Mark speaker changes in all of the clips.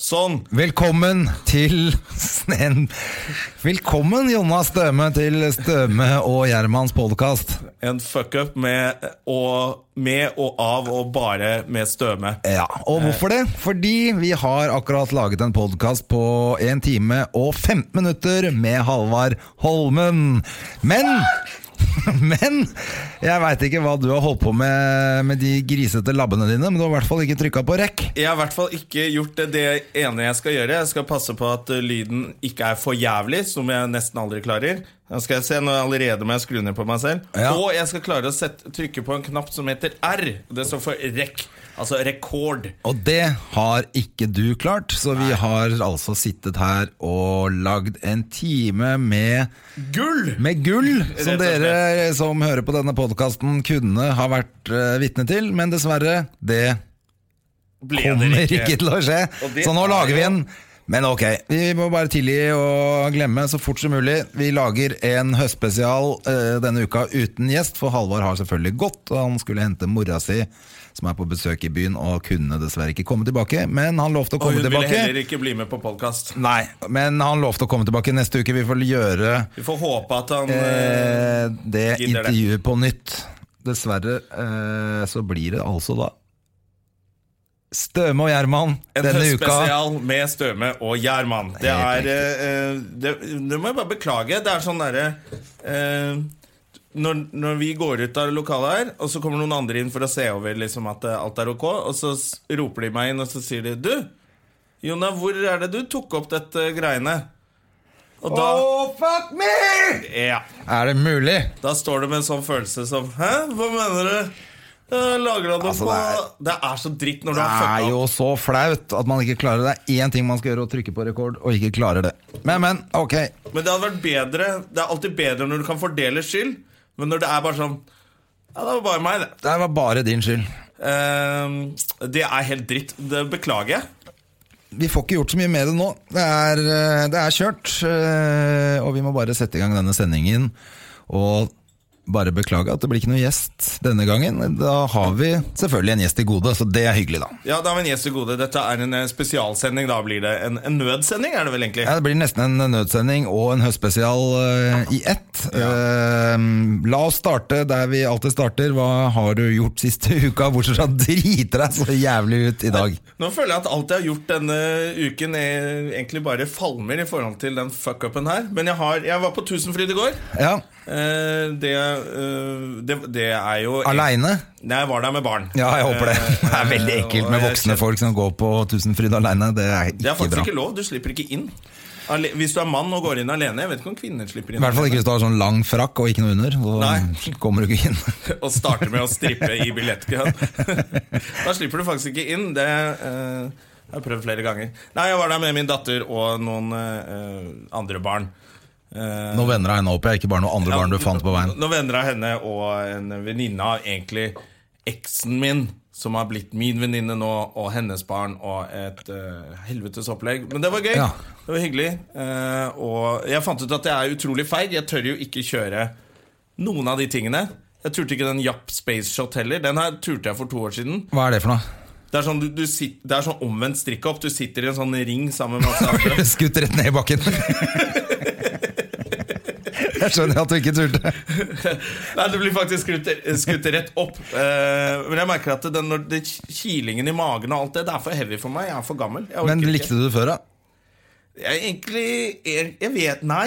Speaker 1: Sånn!
Speaker 2: Velkommen til en, Velkommen, Jonas Støme, til Støme og Gjermans podkast.
Speaker 1: En fuck-up med, og- med og av og bare med støme.
Speaker 2: Ja, og hvorfor det? Fordi vi har akkurat laget en podkast på 1 time og 15 minutter med Halvard Holmen. Men men jeg veit ikke hva du har holdt på med med de grisete labbene dine, men du har i hvert fall ikke trykka på rekk.
Speaker 1: Jeg har i hvert fall ikke gjort det, det ene jeg skal gjøre. Jeg skal passe på at eh, lyden ikke er for jævlig, som jeg nesten aldri klarer. Nå skal jeg se, nå er jeg allerede må jeg skru ned på meg selv.
Speaker 2: Ja.
Speaker 1: Og jeg skal klare å sette, trykke på en knapp som heter R. Det står for rekk. Altså rekord.
Speaker 2: Og det har ikke du klart, så vi har altså sittet her og lagd en time med
Speaker 1: Gull!
Speaker 2: Med gull, som
Speaker 1: Rett og slett.
Speaker 2: dere som hører på denne podkasten kunne ha vært eh, vitne til, men dessverre, det
Speaker 1: Ble det
Speaker 2: kommer ikke til å skje.
Speaker 1: Og det
Speaker 2: Så nå
Speaker 1: er
Speaker 2: lager vi
Speaker 1: jo-
Speaker 2: en men ok, vi må bare tilgi og glemme så fort som mulig. Vi lager en høstspesial eh, denne uka uten gjest, for Halvard har selvfølgelig gått. og Han skulle hente mora si, som er på besøk i byen, og kunne dessverre ikke komme tilbake. Men han lovte å
Speaker 1: Og
Speaker 2: komme
Speaker 1: hun ville
Speaker 2: tilbake.
Speaker 1: heller ikke bli med på podkast.
Speaker 2: Nei, men han lovte å komme tilbake neste uke. Vi får gjøre
Speaker 1: Vi får håpe at han eh,
Speaker 2: Eh, det
Speaker 1: Gidder det.
Speaker 2: intervjuet på nytt. Dessverre eh, så blir det altså da Støme og Gjerman
Speaker 1: En
Speaker 2: denne uka.
Speaker 1: høstspesial med Støme og Gjerman. Det er
Speaker 2: Helt
Speaker 1: eh, det, det må jeg bare beklage. Det er sånn derre eh, når, når vi går ut av lokalet her, og så kommer noen andre inn for å se over liksom, at eh, alt er ok, og så s- roper de meg inn, og så sier de Du, Jonna, hvor er det du tok opp dette greiene? Og da
Speaker 2: Oh, fuck me!
Speaker 1: Ja.
Speaker 2: Er det mulig?
Speaker 1: Da står du med en sånn følelse som Hæ, hva mener du? Eh, Lagra det
Speaker 2: Altså,
Speaker 1: på
Speaker 2: det
Speaker 1: det
Speaker 2: er-
Speaker 1: er, så dritt når du
Speaker 2: Det
Speaker 1: har
Speaker 2: er
Speaker 1: fucka opp.
Speaker 2: jo så flaut at man ikke klarer det. Det er én ting man skal gjøre, å trykke på rekord, og ikke klarer det. Men, men, ok.
Speaker 1: Men det hadde vært bedre Det er alltid bedre når du kan fordele skyld, men når det er bare sånn Ja, det var bare meg, det.
Speaker 2: Det var bare din skyld.
Speaker 1: Ehm, det er helt dritt. Det beklager jeg.
Speaker 2: Vi får ikke gjort så mye med det nå. Det er, eh, det er kjørt. eh, Og vi må bare sette i gang denne sendingen. Og bare beklage at det blir ikke noen gjest denne gangen. Da har vi selvfølgelig en gjest i gode, så det er hyggelig, da.
Speaker 1: Ja, da men gjest i gode. Dette er en eh, spesialsending. Da blir det en, en nødsending, er det vel egentlig?
Speaker 2: Ja, det blir nesten en nødsending og en høstspesial eh, i ett. Eh, La oss starte der vi alltid starter. Hva har du gjort siste uka, bortsett fra å drite deg så jævlig ut i dag?
Speaker 1: Nå føler jeg at alt jeg har gjort denne uken, er egentlig bare falmer i forhold til den fuck-upen her. Men jeg, har, jeg var på Tusenfryd i går.
Speaker 2: Ja,
Speaker 1: Eh, det, eh, det, det er jo
Speaker 2: Aleine?
Speaker 1: Nei, jeg var der med barn.
Speaker 2: Ja, jeg håper det. Det er veldig
Speaker 1: Eh,
Speaker 2: ekkelt
Speaker 1: og
Speaker 2: med
Speaker 1: jeg
Speaker 2: voksne folk som går på Tusenfryd alene. Det
Speaker 1: Det
Speaker 2: er
Speaker 1: er
Speaker 2: ikke
Speaker 1: faktisk
Speaker 2: bra.
Speaker 1: ikke lov. Du slipper ikke inn. Ale hvis du er mann og går inn alene. Jeg vet ikke om kvinner slipper
Speaker 2: I
Speaker 1: inn.
Speaker 2: hvert fall ikke hvis du har sånn lang frakk og ikke noe under. Så
Speaker 1: Nei.
Speaker 2: kommer du ikke inn.
Speaker 1: Og starter med å strippe i billettkøen. da slipper du faktisk ikke inn. Det eh, jeg har jeg prøvd flere ganger. Nei, jeg var der med min datter og noen eh, andre barn. Eh,
Speaker 2: Nå vender jeg henne opp, jeg. Ikke bare noen andre barn du fant på veien.
Speaker 1: Nå venner jeg henne og en venninne av egentlig eksen min, som har blitt min venninne nå, og hennes barn, og et eh, helvetes opplegg. Men det var gøy.
Speaker 2: Ja.
Speaker 1: Det var hyggelig. Eh, og jeg fant ut at jeg er utrolig feig. Jeg tør jo ikke kjøre noen av de tingene. Jeg turte ikke den Japp Space Shot heller. Den her turte jeg for to år siden.
Speaker 2: Hva er det for noe?
Speaker 1: Det er sånn, du, du sit, det er sånn omvendt strikkhopp. Du sitter i en sånn ring sammen med masse andre.
Speaker 2: Skutt rett ned i bakken. Jeg skjønner at du ikke turte.
Speaker 1: Nei, det blir faktisk skutt, skutt rett opp. Eh, men jeg merker at den, når det, kilingen i magen og alt det, det er for heavy for meg. Jeg er for gammel. Jeg orker
Speaker 2: Men
Speaker 1: ikke.
Speaker 2: likte du det før, da?
Speaker 1: Jeg egentlig jeg, jeg vet Nei.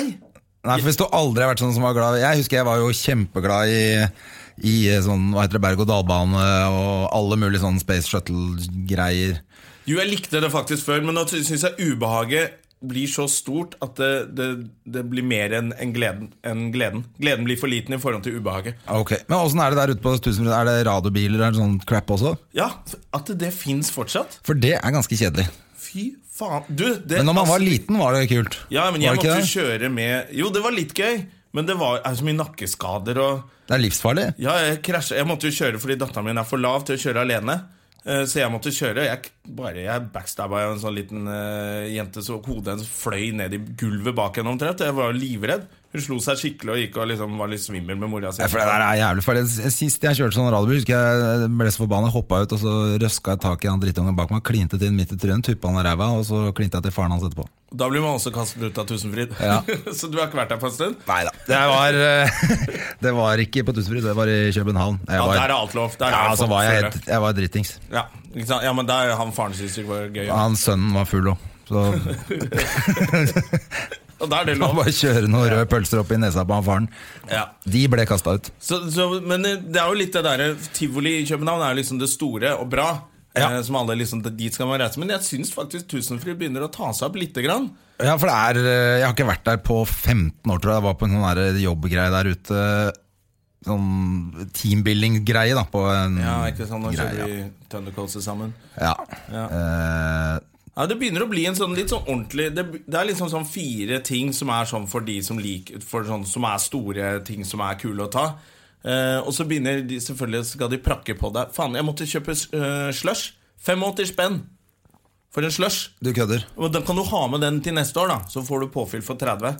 Speaker 2: Nei, for hvis du aldri har vært sånn som var glad Jeg husker jeg var jo kjempeglad i i sånn, hva heter det, berg-og-dal-bane og alle mulige sånne space shuttle-greier.
Speaker 1: Jo, jeg likte det faktisk før, men nå syns jeg ubehaget blir så stort at det, det, det blir mer enn enn gleden, enn gleden. Gleden blir for liten i forhold til ubehaget.
Speaker 2: Ok, Men åssen er det der ute på Tusenfryd? Er det radiobiler og sånn crap også?
Speaker 1: Ja, at det fins fortsatt.
Speaker 2: For det er ganske kjedelig.
Speaker 1: Fy faen. Du, det altså-
Speaker 2: Men når man var liten, var det kult.
Speaker 1: Ja, men jeg
Speaker 2: Var det ikke
Speaker 1: måtte
Speaker 2: det?
Speaker 1: kjøre med Jo, det var litt gøy, men det var er så mye nakkeskader og
Speaker 2: Det er livsfarlig.
Speaker 1: Ja, jeg krasja. Jeg måtte jo kjøre fordi datteren min er for lav til å kjøre alene. Eh, Så jeg måtte kjøre. Jeg, k- bare, jeg backstabba jo en sånn liten eh, jente så hodet hennes fløy ned i gulvet bak henne omtrent. Jeg var jo livredd. Hun slo seg skikkelig og gikk og liksom var litt svimmel med mora si.
Speaker 2: Ja, for det der er jævlig farlig. Sist jeg kjørte sånn radiobil, husker jeg jeg ble så forbanna, hoppa ut, og så røska jeg tak i han drittungen bak meg, klinte til den midt i trynet, tuppa han i ræva, og så klinte jeg til faren hans etterpå.
Speaker 1: Da blir man også kastet ut av Tusenfryd.
Speaker 2: Ja.
Speaker 1: så du har ikke vært der på en stund?
Speaker 2: Nei da. Det var, eh, det var ikke på Tusenfryd, det var i København. Jeg
Speaker 1: Ja, der er
Speaker 2: var,
Speaker 1: alt lov. Der er
Speaker 2: ja,
Speaker 1: alt
Speaker 2: så
Speaker 1: lov,
Speaker 2: var jeg,
Speaker 1: føler
Speaker 2: helt, jeg var dritings.
Speaker 1: Ja, ikke sant? ja, men der han faren synes det var gøy.
Speaker 2: Han sønnen var full òg. Så
Speaker 1: Og da er det
Speaker 2: han
Speaker 1: lov.
Speaker 2: bare kjøre noen røde pølser opp i nesa på han faren.
Speaker 1: Ja.
Speaker 2: De ble kasta ut.
Speaker 1: Så, så, men eh, det er jo litt det derre Tivoli i København er jo liksom det store og bra.
Speaker 2: Ja.
Speaker 1: Eh, som alle liksom, dit skal man reise Men jeg syns faktisk Tusenfryd begynner å ta seg opp lite grann.
Speaker 2: Ja, for det er eh, Jeg har ikke vært der på 15 år, tror jeg. Jeg var på en sånn der jobbgreie der ute. Sånn teambuilding-greie, da. På en
Speaker 1: Ja, ikke sant, Nå
Speaker 2: greie,
Speaker 1: kjører vi Thundercoaster sammen.
Speaker 2: Ja.
Speaker 1: Ja.
Speaker 2: Eh,
Speaker 1: Ja, Det begynner å bli en sånn litt sånn ordentlig Det, det er liksom sånn fire ting som er sånn for de som liker For sånn som er store ting som er kule å ta. Eh, og så begynner de selvfølgelig skal de prakke på deg. Faen, jeg måtte kjøpe eh, slush. 85 spenn for en slush.
Speaker 2: du kødder.
Speaker 1: Og da kan du ha med den til neste år, da. Så får du påfyll for 30.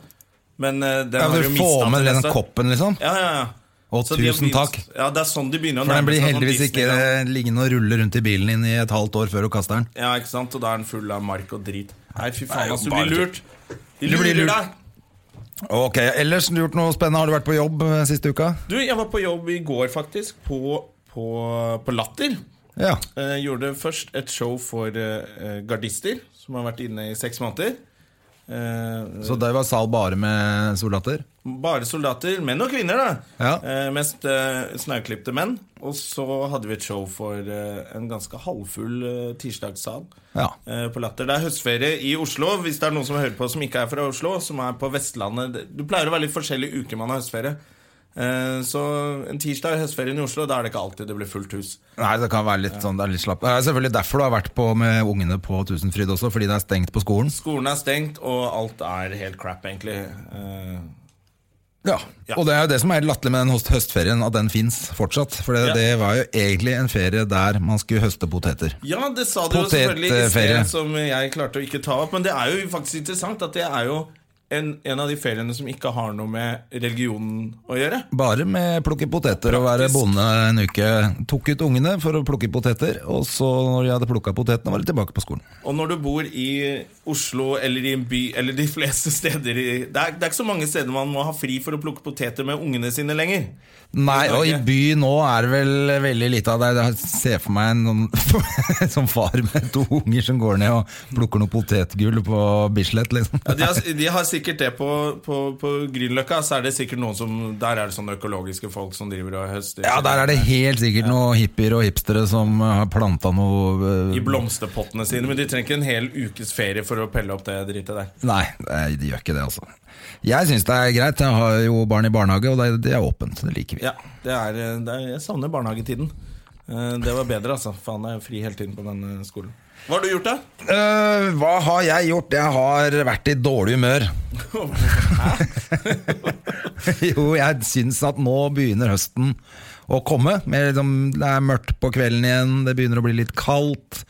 Speaker 1: Men eh, den
Speaker 2: Ja,
Speaker 1: har
Speaker 2: du
Speaker 1: du
Speaker 2: får
Speaker 1: mista
Speaker 2: med
Speaker 1: til
Speaker 2: den
Speaker 1: neste.
Speaker 2: koppen, liksom?
Speaker 1: Ja, ja, ja.
Speaker 2: Og
Speaker 1: de har
Speaker 2: tusen
Speaker 1: begynt-
Speaker 2: takk.
Speaker 1: Ja, det er sånn de begynner å
Speaker 2: For den
Speaker 1: nærme
Speaker 2: blir
Speaker 1: seg sånn
Speaker 2: heldigvis ikke eh,
Speaker 1: Disneyland.
Speaker 2: liggende og ruller rundt i bilen din i et halvt år før du kaster den.
Speaker 1: Ja, ikke sant? Og da er den full av mark og drit. Nei, fy
Speaker 2: Nei,
Speaker 1: faen, altså, du
Speaker 2: bare
Speaker 1: blir lurt. De
Speaker 2: Du blir
Speaker 1: lurer
Speaker 2: lurt.
Speaker 1: deg.
Speaker 2: Ok, Ellers har du gjort noe spennende? Har du vært på jobb eh, siste uka?
Speaker 1: Du, jeg var på jobb i går, faktisk, på, på, på Latter.
Speaker 2: Ja.
Speaker 1: Eh, gjorde først et show for eh, eh, gardister, som har vært inne i seks måneder. Eh,
Speaker 2: Så det var sal bare med soldater?
Speaker 1: bare soldater, menn og kvinner, da.
Speaker 2: Ja.
Speaker 1: Eh, mest eh, snauklipte menn. Og så hadde vi et show for eh, en ganske halvfull eh, tirsdagssal.
Speaker 2: Ja.
Speaker 1: eh, På latter. Det er høstferie i Oslo. Hvis det er noen som hører på som ikke er fra Oslo, som er på Vestlandet det- Du pleier å være litt forskjellige uker man har høstferie. Eh, Så en tirsdag er høstferien i Oslo, da er det ikke alltid det blir fullt hus.
Speaker 2: Nei, det kan være litt sånn, det er litt slapp. Det er selvfølgelig derfor du har vært på med ungene på Tusenfryd også, fordi det er stengt på skolen.
Speaker 1: Skolen er stengt, og alt er helt crap, egentlig. Eh,
Speaker 2: Ja.
Speaker 1: Ja.
Speaker 2: Og det er jo det som er helt latterlig med den høst- høstferien, at den fins fortsatt. For det,
Speaker 1: Ja.
Speaker 2: det var jo egentlig en ferie der man skulle høste poteter.
Speaker 1: Ja, det sa du jo selvfølgelig i
Speaker 2: Potetferie.
Speaker 1: sted, som jeg klarte å ikke ta opp. Men det er jo faktisk interessant at det er jo en, en av de feriene som ikke har noe med religionen å gjøre.
Speaker 2: Bare med plukke poteter og være
Speaker 1: Praktisk.
Speaker 2: bonde en uke. Tok ut ungene for å plukke poteter, og så når de hadde plukka potetene, var de tilbake på skolen.
Speaker 1: Og når du bor i Oslo eller i en by eller de fleste steder i, det, er, det er ikke så mange steder man må ha fri for å plukke poteter med ungene sine lenger.
Speaker 2: Nei, og i
Speaker 1: Norge.
Speaker 2: by nå er det vel veldig lite av det. Jeg ser for meg en sånn, som far med to unger som går ned og plukker noe potetgull på Bislett, liksom.
Speaker 1: Ja, de, har, de har sikkert det på, på, på Grünerløkka. Så er det sikkert noen som Der er det sånne økologiske folk som driver og høster.
Speaker 2: Ja, der er det helt sikkert noen hippier og hipstere som eh, har planta noe eh,
Speaker 1: I blomsterpottene sine. Men de trenger ikke en hel ukes ferie for å pelle opp det dritet der.
Speaker 2: Nei, eh, de gjør ikke det, altså. Jeg syns det er greit. Jeg har jo barn i barnehage, og det, det er åpent. Det liker vi.
Speaker 1: Ja, det er, eh, det er, Jeg savner barnehagetiden. Eh, Det var bedre, altså. Faen, jeg er fri hele tiden på denne skolen. Hva har du gjort, da?
Speaker 2: Eh, hva har jeg gjort? Jeg har vært i dårlig humør. jo, jeg syns at nå begynner høsten å komme. Med liksom, det er mørkt på kvelden igjen, det begynner å bli litt kaldt.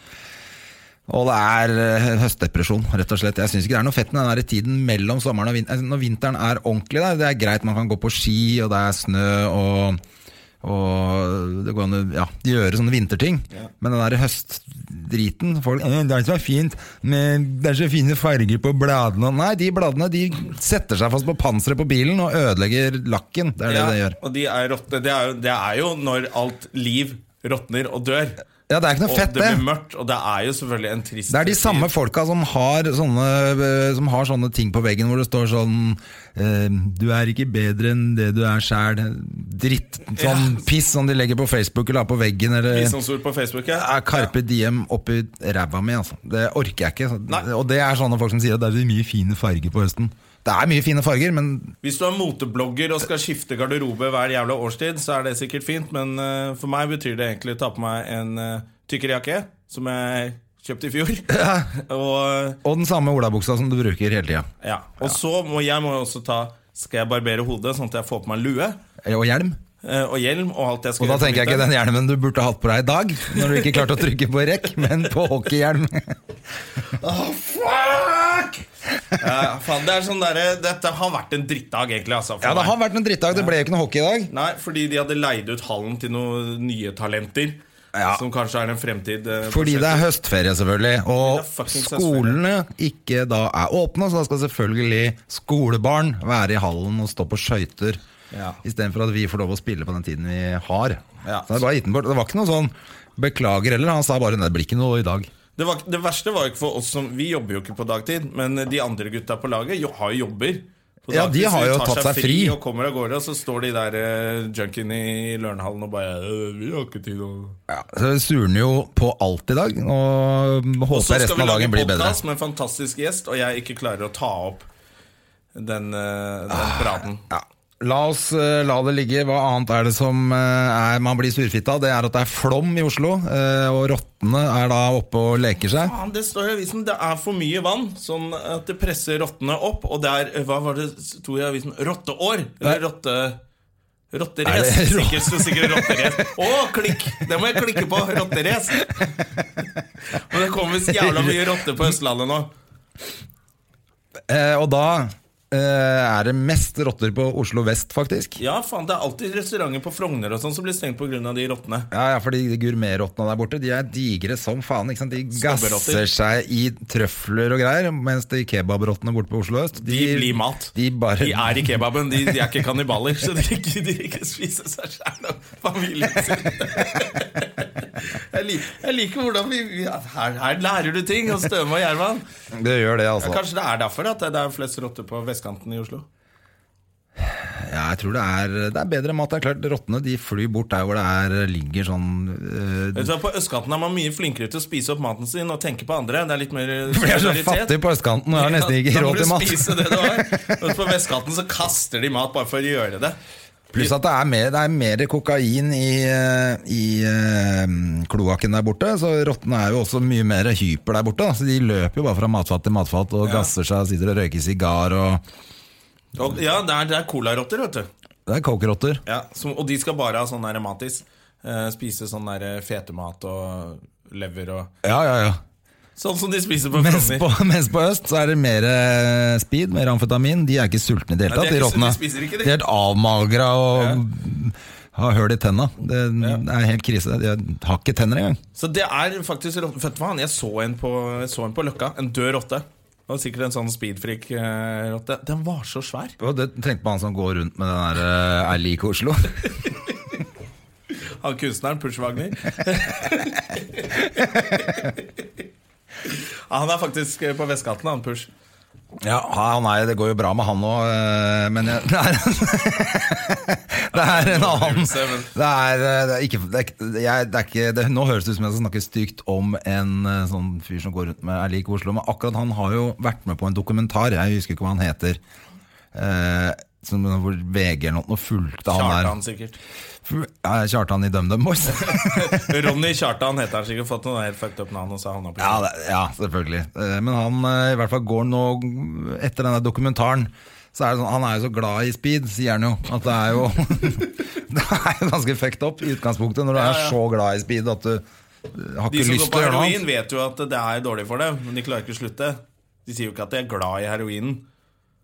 Speaker 2: Og det er eh, høstdepresjon, rett og slett. Jeg syns ikke det er noe fett med den der tiden mellom sommeren og vinteren. Når vinteren er ordentlig der, det er greit, man kan gå på ski, og det er snø, og, og det går an å ja, gjøre sånne vinterting. Men den der høstdriten folk, «Eh, Det er så fint, men det er så fine farger på bladene Nei, de bladene de setter seg fast på panseret på bilen og ødelegger lakken. Det er det det gjør.
Speaker 1: Og de er råtne. Det, er jo- det er jo når alt liv råtner og dør.
Speaker 2: Ja, det er ikke
Speaker 1: Og
Speaker 2: noe fett,
Speaker 1: det
Speaker 2: det.
Speaker 1: blir mørkt, og det er jo selvfølgelig en trist
Speaker 2: Det er de
Speaker 1: tid.
Speaker 2: samme folka som har sånne, eh, som har sånne ting på veggen hvor det står sånn eh, Du er ikke bedre enn det du er sjæl. Dritt. Sånn piss som de legger på Facebook eller har på veggen. Eller,
Speaker 1: visdomsord på Facebook. Ja.
Speaker 2: er Carpe Diem oppi ræva mi, altså. Det orker jeg ikke. så-
Speaker 1: Nei.
Speaker 2: Og det er sånne folk som sier at det er så mye fine farger på høsten. Det er mye fine farger, men
Speaker 1: Hvis du er moteblogger og skal skifte garderobe hver jævla årstid, så er det sikkert fint, men eh, for meg betyr det egentlig å ta på meg en eh, tykkere jakke, som jeg kjøpte i fjor. og
Speaker 2: Og den samme olabuksa som du bruker hele tida.
Speaker 1: ja. og så må jeg må jo også ta Skal jeg barbere hodet, sånn at jeg får på meg lue
Speaker 2: Og hjelm.
Speaker 1: eh, og hjelm og alt jeg skal
Speaker 2: Og da
Speaker 1: gjøre på
Speaker 2: tenker jeg ikke
Speaker 1: vinteren?
Speaker 2: den hjelmen du burde hatt på deg i dag, når du ikke klarte å trykke på rekk, men på hockeyhjelm.
Speaker 1: Fuck! Ja, faen, det er sånn derre- Dette har vært en drittdag, egentlig. Altså, for
Speaker 2: Ja,
Speaker 1: meg.
Speaker 2: det har vært en drittdag. Det ble jo ikke noe hockey i dag.
Speaker 1: Nei, fordi de hadde leid ut hallen til noen nye talenter.
Speaker 2: Ja.
Speaker 1: Som kanskje er en fremtid. eh, på
Speaker 2: Fordi det
Speaker 1: Kjetil.
Speaker 2: er høstferie, selvfølgelig.
Speaker 1: Det er
Speaker 2: Og
Speaker 1: fucking
Speaker 2: skolene ikke da er åpne, så da skal selvfølgelig skolebarn være i hallen og stå på skøyter.
Speaker 1: Ja.
Speaker 2: Istedenfor at vi får lov å spille på den tiden vi har.
Speaker 1: Ja.
Speaker 2: Så det, er bare gitt den bort. det var ikke noe sånn 'beklager' heller. Han sa bare 'nei, det blir ikke noe i dag'.
Speaker 1: det, var, det verste var jo ikke for oss som Vi jobber jo ikke på dagtid, men de andre gutta på laget jo, har jo jobber. på
Speaker 2: Ja, de
Speaker 1: dagtid, så
Speaker 2: har jo
Speaker 1: tar
Speaker 2: tatt seg fri.
Speaker 1: Og kommer av gårde, og så står de der uh, junkiene i Lørenhallen og bare «Øh, Vi har ikke tid å
Speaker 2: Ja, så det surner jo på alt i dag, og håper resten av dagen blir bedre.
Speaker 1: podcast med en fantastisk gjest, og jeg ikke klarer å ta opp den, eh,
Speaker 2: Ah.
Speaker 1: den praten.
Speaker 2: Ja. La oss eh, la det ligge. Hva annet er det som eh, er, man blir surfitta av? Det er at det er flom i Oslo, eh, og rottene er da oppe og leker seg.
Speaker 1: Faen, det står i avisen. Det er for mye vann, sånn at det presser rottene opp. Og det er Hva var det sto i avisen? Rotteår? Eller rotte... Rotterace.
Speaker 2: Er det-
Speaker 1: Sikkert sto sikkert rotterace. Å, klikk! Det må jeg klikke på. Rotterace. Og det kommer så jævla mye rotter på Østlandet nå.
Speaker 2: Eh, og da eh, er det mest rotter på Oslo vest, faktisk.
Speaker 1: Ja, faen, det er alltid restauranter på Frogner og sånn som blir stengt pga. de rottene.
Speaker 2: Ja, ja, fordi de gourmetrottene der borte De er digre som faen. ikke sant? De
Speaker 1: Snobberotter.
Speaker 2: gasser seg i trøfler og greier, mens de kebabrottene borte på Oslo øst
Speaker 1: De blir mat.
Speaker 2: De bare
Speaker 1: De er i kebaben. De, de er ikke kannibaler, så de gidder ikke spise seg sjæl og familien sin. Jeg, lik, jeg liker hvordan vi, vi her, her lærer du ting av Støme og Gjerman.
Speaker 2: Det gjør det, altså.
Speaker 1: Kanskje det er derfor at det er flest rotter på vestkanten i Oslo?
Speaker 2: Ja, jeg tror det er, det er bedre mat. Det er klart, Rottene de flyr bort der hvor det er, ligger sånn eh,
Speaker 1: Vet du hva, På østkanten er man mye flinkere til å spise opp maten sin og tenke på andre. Det er litt mer
Speaker 2: For jeg er så fattig på østkanten og jeg har nesten ikke råd
Speaker 1: Da
Speaker 2: til
Speaker 1: må
Speaker 2: mat.
Speaker 1: du spise det du har. Mens på vestkanten så kaster de mat bare for å gjøre det.
Speaker 2: Pluss at det er mer, det er mer kokain i, eh, i eh, kloakken der borte. Så rottene er jo også mye mer hyper der borte. Da. Så de løper jo bare fra matfat til matfat og
Speaker 1: Ja.
Speaker 2: gasser seg og sitter og røyker sigar og
Speaker 1: Og, ja, det er, det er colarotter, vet du.
Speaker 2: Det er cokerotter.
Speaker 1: Ja, som, og de skal bare ha sånn der matis. Eh, spise sånn der fetemat og lever og
Speaker 2: Ja, ja, ja.
Speaker 1: Sånn som de spiser på
Speaker 2: Mens
Speaker 1: Frogner.
Speaker 2: på, mens på øst så er det mer eh, speed, mer amfetamin. De er ikke sultne i det hele
Speaker 1: Nei,
Speaker 2: tatt,
Speaker 1: de er
Speaker 2: de
Speaker 1: ikke-
Speaker 2: rottene.
Speaker 1: de spiser ikke, de.
Speaker 2: De er helt avmagra og har høl i tenna. Det er helt krise. De har ikke tenner engang.
Speaker 1: Så det er faktisk rott- Vet du hva, jeg så en på, jeg så en på Løkka. En død rotte. Det var sikkert en sånn speedfreak-rotte. Den var så svær.
Speaker 2: Og det tenkte på han som går rundt med den der eh, Er lik Oslo.
Speaker 1: Han kunstneren, Push Wagner. ja, han er faktisk eh, på vestkanten, han Push.
Speaker 2: Ja, ja, nei, det går jo bra med han òg, men jeg, det, er, det er en annen Det er, eh, det er ikke, det er, ikke- jeg, det er ikke det, Nå høres det ut som jeg skal snakke stygt om en eh, sånn fyr som går rundt med er lik Oslo, men akkurat han har jo vært med på en dokumentar, jeg husker ikke hva han heter. Eh, som hvor VG eller noe, noe fulgte han
Speaker 1: Kjartan, sikkert.
Speaker 2: der. Ja, Kjartan i DumDum Boys.
Speaker 1: Ronny Kjartan heter han sikkert. Fått noen helt fucked up navn, og så havna på
Speaker 2: Ja, det, ja selvfølgelig. Eh, Men han eh, i hvert fall går nå etter denne dokumentaren. Så er det sånn, Han er jo så glad i speed, sier han jo. At det er jo Det er jo ganske fucked up i utgangspunktet når du
Speaker 1: Ja,
Speaker 2: er
Speaker 1: ja.
Speaker 2: så glad i speed at du eh, har
Speaker 1: De
Speaker 2: ikke
Speaker 1: som
Speaker 2: lyst
Speaker 1: går
Speaker 2: til
Speaker 1: på
Speaker 2: å gjøre noe
Speaker 1: heroin,
Speaker 2: annet.
Speaker 1: vet jo at det er dårlig for dem, men de klarer ikke å slutte. De sier jo ikke at de er glad i heroinen.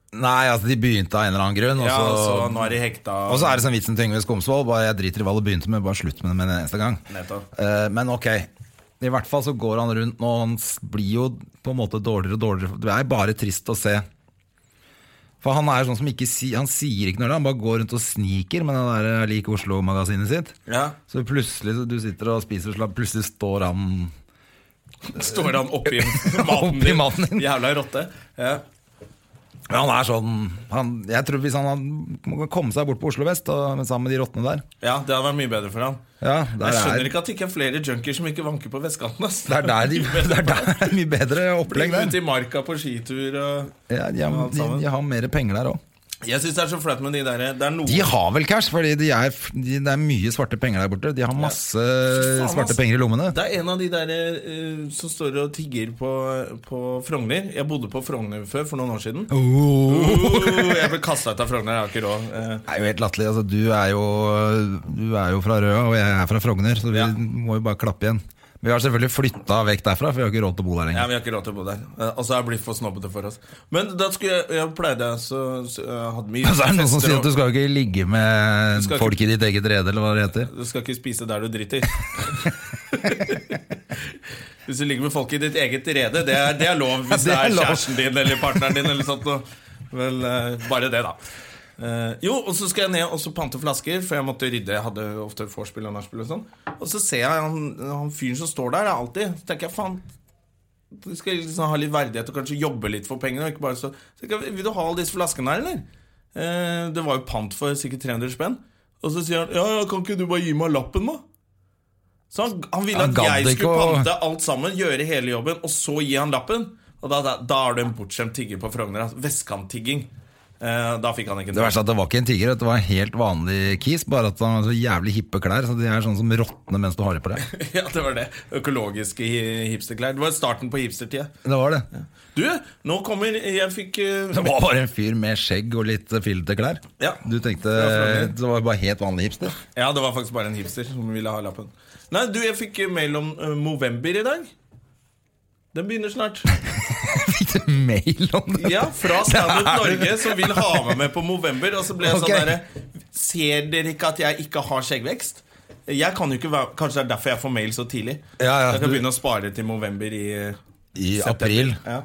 Speaker 2: Nei, altså de begynte av en eller annen grunn, og
Speaker 1: Ja, så
Speaker 2: så,
Speaker 1: nå er de hekta.
Speaker 2: og så er det som vitsen til Yngve Skomsvold. Bare jeg driter i hva du begynte med, bare slutt med det med en eneste gang.
Speaker 1: Nettopp.
Speaker 2: Eh, Men ok. I hvert fall så går han rundt nå, og han s- blir jo på en måte dårligere og dårligere. Det er bare trist å se. For han er jo sånn som ikke si, han sier ikke noe, han bare går rundt og sniker med det der eh, Lik Oslo-magasinet sitt.
Speaker 1: Ja.
Speaker 2: Så plutselig så du sitter og spiser og slapp, plutselig står han
Speaker 1: Står han oppi maten
Speaker 2: Oppi
Speaker 1: din?
Speaker 2: maten din.
Speaker 1: Jævla rotte. Ja.
Speaker 2: Ja, Han er sånn han, Jeg tror hvis han hadde- må komme seg bort på Oslo vest og, sammen med de rottene der
Speaker 1: ja, det hadde vært mye bedre for han.
Speaker 2: Ja, der
Speaker 1: Jeg skjønner
Speaker 2: er,
Speaker 1: ikke at det ikke er flere junkier som ikke vanker på vestkanten. Ass.
Speaker 2: det er der de, det er der det er mye bedre opplegg
Speaker 1: Legg
Speaker 2: der.
Speaker 1: ut i marka på skitur og
Speaker 2: Ja, de, har- de, de har mer penger der òg.
Speaker 1: Jeg syns det er så flaut med de der Det er noen
Speaker 2: De har vel cash, fordi de er, de, det er mye svarte penger der borte. De har masse
Speaker 1: Fy faen,
Speaker 2: svarte
Speaker 1: ass.
Speaker 2: penger i lommene.
Speaker 1: Det er en av de der eh, som står og tigger på, på Frogner. Jeg bodde på Frogner før, for noen år siden.
Speaker 2: Oh.
Speaker 1: Oh, jeg ble kasta ut av Frogner, jeg har ikke råd. Eh,
Speaker 2: Det er jo helt latterlig. Altså, du, er jo, du er jo fra Røa, og jeg er fra Frogner, så vi
Speaker 1: Ja.
Speaker 2: må jo bare klappe igjen. Vi har selvfølgelig flytta vekk derfra, for vi har ikke råd til å bo der
Speaker 1: Ja,
Speaker 2: lenger.
Speaker 1: Vi har ikke råd til å bo der. Eh, Altså, jeg blir for snobbete for oss. Men da skulle jeg, jeg pleide så, så jeg hadde mye
Speaker 2: Så Altså, er det noen som
Speaker 1: fester
Speaker 2: sier
Speaker 1: og-
Speaker 2: at du skal jo ikke ligge med
Speaker 1: skal ikke-
Speaker 2: folk i ditt eget rede, eller hva det heter.
Speaker 1: Du skal ikke spise der du driter. Hvis du ligger med folk i ditt eget rede, det er, det er lov hvis
Speaker 2: Ja, det
Speaker 1: det
Speaker 2: er
Speaker 1: er
Speaker 2: lov.
Speaker 1: kjæresten din eller partneren din. eller sånt noe. Vel, eh, bare det, da. Eh, jo, og så skal jeg ned og så pante flasker, for jeg måtte rydde. Jeg hadde ofte vorspiel og nachspiel og sånn. Og så ser jeg han, han fyren som står der, er alltid. Så tenker jeg, faen Du skal liksom ha litt verdighet og kanskje jobbe litt for pengene. og Ikke bare så, så tenker jeg, Vil du ha alle disse flaskene her, eller? Eh, det var jo pant for sikkert 300 spenn. Og så sier han ja, ja, kan ikke du bare gi meg lappen, da? Så han, han ville
Speaker 2: Han
Speaker 1: at
Speaker 2: gadd
Speaker 1: jeg
Speaker 2: ikke
Speaker 1: skulle
Speaker 2: å-
Speaker 1: pante alt sammen, gjøre hele jobben, og så gi han lappen. Og da, da, da er du en bortskjemt tigger på Frogner. altså. Vestkanttigging. Eh, da fikk han ikke
Speaker 2: Det verste er at det var ikke en tiger, det var en helt vanlig kis, bare at han har så jævlig hippe klær, så de er sånn som råtner mens du har det på deg.
Speaker 1: Ja, det var det. Økologiske hi- hipsterklær. Det var starten på hipstertida.
Speaker 2: Det var det.
Speaker 1: Du, nå kommer Jeg fikk eh,
Speaker 2: Det var bare en fyr med skjegg og litt eh, fillete klær.
Speaker 1: Ja.
Speaker 2: Du tenkte
Speaker 1: Ja,
Speaker 2: det var bare helt vanlig hipster.
Speaker 1: Ja, det var faktisk bare en hipster som ville ha lappen. Nei, du, jeg fikk eh, mail om eh, Movember i dag. Den begynner snart.
Speaker 2: Fikk du mail om det?
Speaker 1: Ja, fra Standup Norge, som vil ha meg med på Movember. Og så ble jeg
Speaker 2: Ok.
Speaker 1: sånn derre Ser dere ikke at jeg ikke har skjeggvekst? Jeg kan jo ikke være, Kanskje det er derfor jeg får mail så tidlig.
Speaker 2: Ja, ja,
Speaker 1: jeg kan
Speaker 2: du-
Speaker 1: begynne å spare til Movember i
Speaker 2: I
Speaker 1: september.
Speaker 2: april.
Speaker 1: Ja.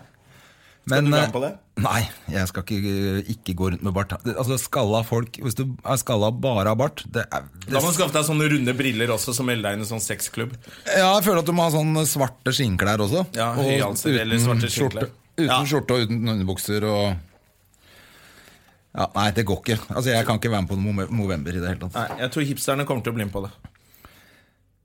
Speaker 2: Men,
Speaker 1: du være med på det?
Speaker 2: eh, Nei, jeg skal ikke, ikke gå rundt med bart. Altså, skalla folk Hvis du er skalla bare av bart det er,
Speaker 1: Da
Speaker 2: det,
Speaker 1: må du skaffe deg sånne runde briller også, som melder deg inn i en sånn sexklubb.
Speaker 2: Ja, jeg føler at du må ha sånn svarte skinnklær også.
Speaker 1: Ja,
Speaker 2: og
Speaker 1: høyhalset
Speaker 2: uten
Speaker 1: eller svarte skinnklær.
Speaker 2: skjorte- Uten
Speaker 1: Ja.
Speaker 2: skjorte og uten underbukser og ja, Nei, det går ikke. Altså, Jeg kan ikke være med på noe Movember i det hele tatt.
Speaker 1: Nei, jeg tror hipsterne kommer til å bli med på det.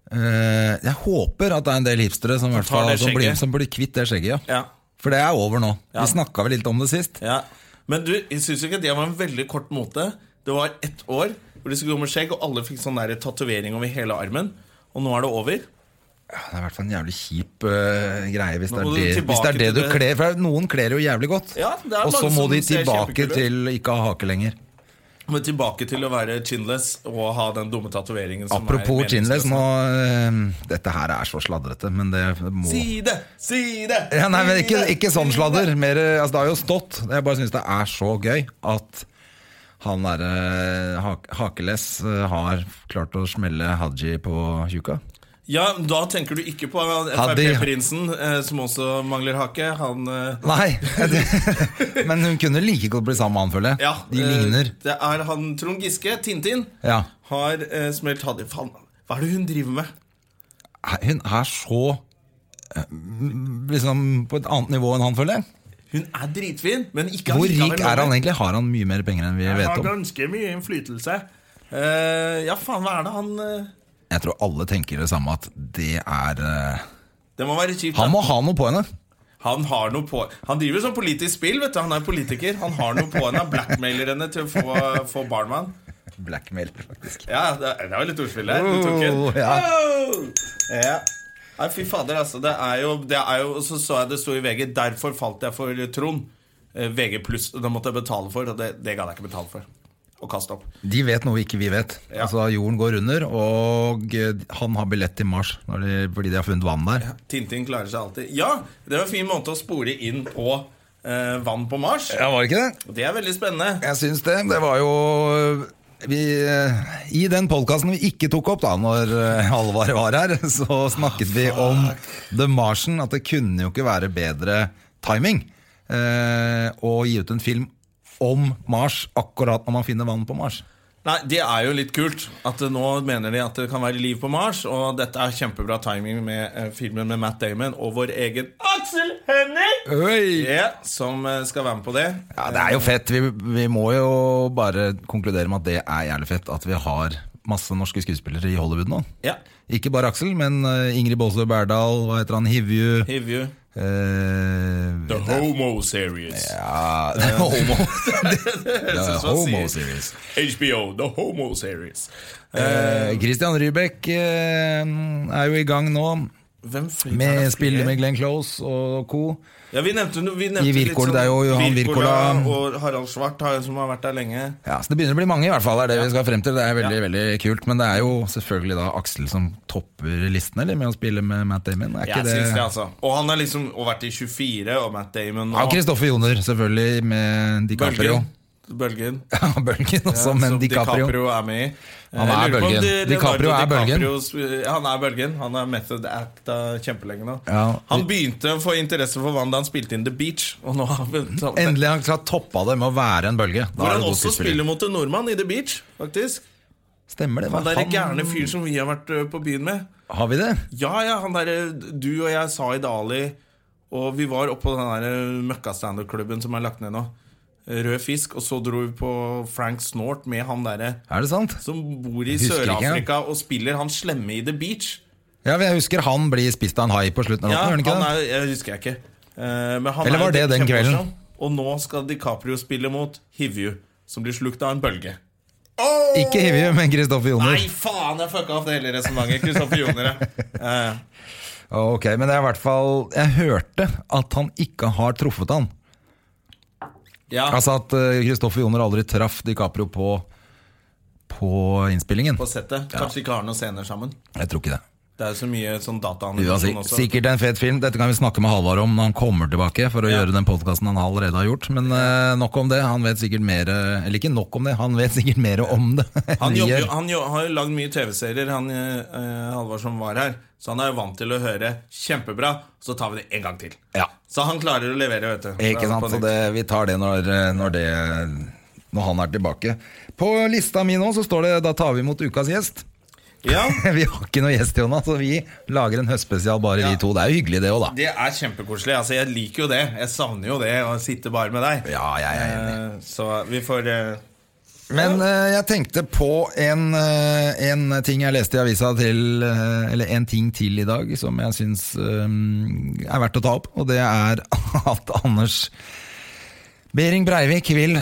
Speaker 2: Eh, jeg håper at det er en del hipstere som, i hvert
Speaker 1: tar
Speaker 2: fall,
Speaker 1: det
Speaker 2: som, blir,
Speaker 1: skjegget.
Speaker 2: som blir kvitt det skjegget. ja
Speaker 1: Ja,
Speaker 2: For det er over nå.
Speaker 1: Ja.
Speaker 2: Vi snakka vel litt om det sist.
Speaker 1: ja. Men du, jeg syns ikke det var en veldig kort mote. Det var ett år hvor de skulle gå med skjegg, og alle fikk sånn der tatovering over hele armen. Og nå er det over.
Speaker 2: Ja, Det er i hvert fall en jævlig kjip eh, greie hvis
Speaker 1: Nå
Speaker 2: det,
Speaker 1: må
Speaker 2: er
Speaker 1: du
Speaker 2: det, hvis det
Speaker 1: tilbake
Speaker 2: er det
Speaker 1: til
Speaker 2: du
Speaker 1: det.
Speaker 2: kler. For noen kler jo jævlig godt.
Speaker 1: Ja, det er
Speaker 2: og så
Speaker 1: mange
Speaker 2: må
Speaker 1: som
Speaker 2: de
Speaker 1: ser
Speaker 2: tilbake
Speaker 1: kjempekule ut.
Speaker 2: til ikke ha hake lenger.
Speaker 1: Men tilbake til å være chinless og ha den dumme tatoveringen. som er
Speaker 2: Apropos
Speaker 1: meningsløs.
Speaker 2: chinless, nå eh, Dette her er så sladrete, men det må
Speaker 1: Si det! Si det!
Speaker 2: ja, Nei, men ikke,
Speaker 1: si det,
Speaker 2: ikke sånn
Speaker 1: si
Speaker 2: sladder.
Speaker 1: det.
Speaker 2: Mer, eh, altså, det har jo stått. Jeg bare syns det er så gøy at han derre hak Hakeless eh, har klart å smelle Haji på tjuka.
Speaker 1: Ja, Da tenker du ikke på
Speaker 2: Hadde-
Speaker 1: Frp-prinsen, eh, som også mangler hake. Han eh,
Speaker 2: Nei, det- men hun kunne like godt bli sammen med han, føler jeg.
Speaker 1: Ja,
Speaker 2: De
Speaker 1: eh,
Speaker 2: ligner.
Speaker 1: Det er han Trond Giske, Tintin,
Speaker 2: Ja.
Speaker 1: har eh, smelt Hadi. Faen, hva er det hun driver med?
Speaker 2: Hun er så eh, liksom på et annet nivå enn han, føler jeg.
Speaker 1: Hun er dritfin, men ikke
Speaker 2: Hvor rik er han egentlig? Har han mye mer penger enn vi
Speaker 1: Jeg
Speaker 2: vet
Speaker 1: har
Speaker 2: om?
Speaker 1: ganske mye innflytelse. Eh, ja, faen, hva er det han eh,
Speaker 2: Jeg tror alle tenker det samme, at det er eh,
Speaker 1: Det må være kjipt.
Speaker 2: Han
Speaker 1: da.
Speaker 2: må ha noe på henne.
Speaker 1: Han har noe på Han driver sånn politisk spill, vet du. Han er politiker. Han har noe på henne. Han blackmailer henne til å få, få barn med han.
Speaker 2: Blackmail, faktisk.
Speaker 1: Ja, det, det var litt ordspill der. Du tok
Speaker 2: Oh,
Speaker 1: en.
Speaker 2: ja.
Speaker 1: Oh! Ja. Nei, fy fader, altså. Det er jo, det er jo og Så så jeg det sto i VG 'Derfor falt jeg for Trond'. Eh, VG pluss. Det måtte jeg betale for, og det, det gadd jeg ikke betale for. Å kaste opp.
Speaker 2: De vet noe ikke vi vet.
Speaker 1: Ja.
Speaker 2: Altså Jorden går under, og eh, han har billett til Mars når de, fordi de har funnet vann der.
Speaker 1: Tintin klarer seg alltid. Ja, det var en fin måte å spore inn på eh, vann på Mars.
Speaker 2: Ja, var det ikke det?
Speaker 1: Og Det er veldig spennende.
Speaker 2: Jeg syns det. Det var jo vi, eh, I den podkasten vi ikke tok opp da når eh, Halvard var her, så snakket vi om The Martian. At det kunne jo ikke være bedre timing eh, å gi ut en film om Mars akkurat når man finner vann på Mars.
Speaker 1: Nei, Det er jo litt kult. At det nå mener de at det kan være liv på Mars. Og dette er kjempebra timing med eh, filmen med Matt Damon og vår egen Aksel Hennie! Ja, som eh, skal være med på det.
Speaker 2: Ja, det
Speaker 1: Eh.
Speaker 2: er jo fett. Vi, vi må jo bare konkludere med at det er jævlig fett at vi har masse norske skuespillere i Hollywood nå.
Speaker 1: Ja.
Speaker 2: Ikke bare Aksel, men eh, Ingrid Baasø Berdal, hva heter han, Hivju eh,
Speaker 1: Hivju. The
Speaker 2: ja,
Speaker 1: Homo Series.
Speaker 2: det er Homo
Speaker 1: Det
Speaker 2: det
Speaker 1: er
Speaker 2: er
Speaker 1: sånn man
Speaker 2: Homo
Speaker 1: sier.
Speaker 2: series.
Speaker 1: HBO, The Homo Series.
Speaker 2: Eh, Christian Rybek eh, er jo eh, i gang nå.
Speaker 1: Hvem flyr- er
Speaker 2: Med
Speaker 1: det
Speaker 2: spiller
Speaker 1: flere?
Speaker 2: med Glenn Close og co.
Speaker 1: Ja, vi nevnte, no- vi nevnte
Speaker 2: I
Speaker 1: litt
Speaker 2: Wirkola,
Speaker 1: sånn-
Speaker 2: det er jo Johan Wirkola.
Speaker 1: og Harald Svart har- som har vært der lenge.
Speaker 2: Ja, så Det begynner å bli mange, i hvert fall. er det vi skal frem til. Det er veldig veldig kult. Men det er jo selvfølgelig da Aksel som topper listen eller, med å spille med Matt Damon. Er ikke
Speaker 1: Jeg
Speaker 2: det?
Speaker 1: syns det, altså. Og han har liksom og vært i 24, og Matt Damon
Speaker 2: Ja,
Speaker 1: og
Speaker 2: Kristoffer Joner, selvfølgelig, med DiCaprio.
Speaker 1: Bølgen. Bølgen.
Speaker 2: Ja, Bølgen også, men
Speaker 1: som
Speaker 2: DiCaprio.
Speaker 1: er med i.
Speaker 2: Han
Speaker 1: Jeg
Speaker 2: er
Speaker 1: lurer på om
Speaker 2: bølgen.
Speaker 1: det-
Speaker 2: DiCaprio
Speaker 1: Leonardo
Speaker 2: er bølgen.
Speaker 1: DiCaprios- Han er bølgen. Han er method acta kjempelenge nå.
Speaker 2: Ja.
Speaker 1: Han begynte å få interesse for vann da han spilte inn The Beach. Og nå har vi
Speaker 2: Endelig har han klart toppa det med å være en bølge. Da
Speaker 1: Hvor
Speaker 2: er
Speaker 1: han
Speaker 2: det god
Speaker 1: også
Speaker 2: skuespiller.
Speaker 1: spiller mot en nordmann i The Beach, faktisk.
Speaker 2: Stemmer det?
Speaker 1: Han
Speaker 2: hva
Speaker 1: derre
Speaker 2: faen?
Speaker 1: gærne fyr som vi har vært ø, på byen med.
Speaker 2: Har vi det?
Speaker 1: Ja, ja, han derre du og jeg sa i Dali, og vi var oppå den der møkkastanderklubben som er lagt ned nå. Rød fisk, og så dro vi på Frank Snort med han derre
Speaker 2: Er det sant?
Speaker 1: som bor i
Speaker 2: Husker ikke,
Speaker 1: Sør-Afrika og spiller han slemme i The Beach.
Speaker 2: Ja, men Jeg husker han blir spist av en hai på slutten av
Speaker 1: Ja,
Speaker 2: låten. gjør
Speaker 1: han
Speaker 2: han ikke det?
Speaker 1: er, jeg husker jeg ikke. Eh, men han er
Speaker 2: Eller
Speaker 1: jo
Speaker 2: var det den
Speaker 1: kjempemorsom.
Speaker 2: kvelden?
Speaker 1: Og nå skal DiCaprio spille mot Hivju, som blir slukt av en bølge.
Speaker 2: Ikke Hivju, men Kristoffer Joner.
Speaker 1: Nei, faen! Jeg fucka opp det hele resonnementet. Kristoffer Joner, ja. Eh,
Speaker 2: Ok, Men det er i hvert fall Jeg hørte at han ikke har truffet han.
Speaker 1: ja,
Speaker 2: Altså at eh, Kristoffer Joner aldri traff DiCaprio på, på innspillingen.
Speaker 1: på settet. Kanskje de ikke har noen scener sammen.
Speaker 2: Jeg tror ikke det.
Speaker 1: Det er jo så mye sånn
Speaker 2: Uansett,
Speaker 1: dataanimasjon også.
Speaker 2: sikkert en fet film. Dette kan vi snakke med Halvard om når han kommer tilbake. For å
Speaker 1: Ja.
Speaker 2: gjøre den podkasten han allerede har gjort. Men eh, nok om det. Han vet sikkert mer eh, Eller ikke nok om det, han vet sikkert mer om det. enn
Speaker 1: Han,
Speaker 2: vi
Speaker 1: jobber,
Speaker 2: gjør.
Speaker 1: jo- han jo, har jo lagd mye TV-serier, han eh, Halvard som var her. Så han er jo vant til å høre 'kjempebra', så tar vi det en gang til.
Speaker 2: Ja.
Speaker 1: Så han klarer å levere, vet du.
Speaker 2: Ikke sant,
Speaker 1: På
Speaker 2: så
Speaker 1: nytt.
Speaker 2: det, vi tar det når, eh, når det Når han er tilbake På lista mi nå så står det Da tar vi imot ukas gjest
Speaker 1: Ja,
Speaker 2: Vi har ikke noe gjest, Jonas Så vi lager en høstspesial bare
Speaker 1: Ja.
Speaker 2: vi to Det er jo hyggelig det også da
Speaker 1: det er kjempekoselig. Altså, jeg liker jo det. Jeg savner jo det å sitte bare med deg.
Speaker 2: Ja, jeg er enig
Speaker 1: Eh, Så vi får eh,
Speaker 2: Men eh, jeg tenkte på en, eh, en ting jeg leste i avisa til eh, Eller en ting til i dag Som jeg synes eh, er verdt å ta opp Og det er at Anders Bering Breivik vil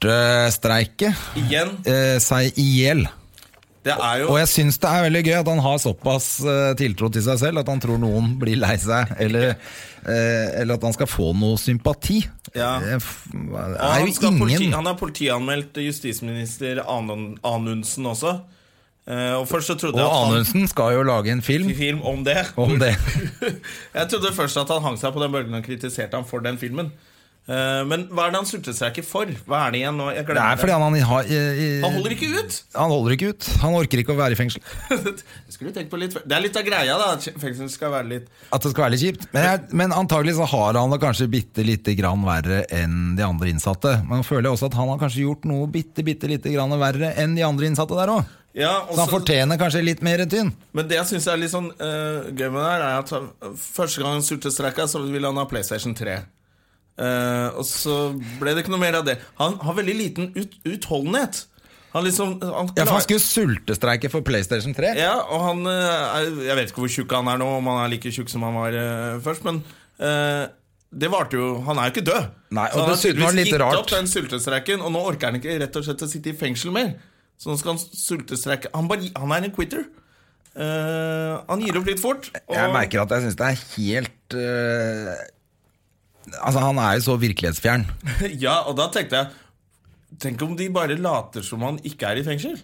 Speaker 2: sultestreike
Speaker 1: igjen.
Speaker 2: eh, seg i hjel
Speaker 1: Det er jo
Speaker 2: Og jeg syns det er veldig gøy at han har såpass eh, tiltro til seg selv at han tror noen blir lei seg, eller, eh, eller at han skal få noe sympati.
Speaker 1: Ja.
Speaker 2: Det f-
Speaker 1: og
Speaker 2: er
Speaker 1: han,
Speaker 2: jo
Speaker 1: skal politi,
Speaker 2: ingen
Speaker 1: han er politianmeldt justisminister Anun- Anundsen også. Eh, Og først så trodde
Speaker 2: Og
Speaker 1: jeg at han
Speaker 2: Anundsen skal jo lage en film
Speaker 1: film om det.
Speaker 2: om det.
Speaker 1: Jeg trodde først at han hang seg på den bølgen og kritiserte ham for den filmen. Eh, Men hva er det han sultestreiker for? Hva er det igjen nå? Jeg
Speaker 2: Det er
Speaker 1: glemmer
Speaker 2: fordi
Speaker 1: det.
Speaker 2: han, han, har, eh, eh,
Speaker 1: Han holder ikke ut!
Speaker 2: han holder ikke ut. Han orker ikke å være i fengsel.
Speaker 1: Det skulle du tenkt på litt før. Det er litt av greia, da. at Fengsel skal være litt
Speaker 2: At det skal være litt kjipt. Men, jeg, men antagelig så har han det kanskje bitte lite grann verre enn de andre innsatte. Men jeg føler også at han har kanskje gjort noe bitte, bitte lite grann verre enn de andre innsatte der òg.
Speaker 1: ja, og
Speaker 2: Så han
Speaker 1: så-
Speaker 2: fortjener kanskje litt mer tynn.
Speaker 1: Men det jeg syns er litt sånn eh, gøy med det her, er at han- første gang han sultestreika, så ville han ha PlayStation 3. Eh, og så ble det ikke noe mer av det. Han har veldig liten ut, utholdenhet. Han liksom han
Speaker 2: Ja, for han
Speaker 1: klarer-
Speaker 2: skulle sultestreike for PlayStation 3.
Speaker 1: Ja, og han eh, er, Jeg vet ikke hvor tjukk han er nå, om han er like tjukk som han var eh, først, men eh, det varte jo Han er jo ikke død.
Speaker 2: Nei, og
Speaker 1: så han har
Speaker 2: dessuten var det
Speaker 1: tydeligvis
Speaker 2: litt
Speaker 1: gitt
Speaker 2: rart.
Speaker 1: opp den sultestreiken, og nå orker han ikke rett og slett å sitte i fengsel mer. Så nå skal han sultestreike. Han, bare, han er en quitter. Eh, han gir opp litt fort. Og,
Speaker 2: Jeg merker at jeg syns det er helt øh, Altså, han er jo så virkelighetsfjern.
Speaker 1: ja, og da tenkte jeg Tenk om de bare later som han ikke er i fengsel?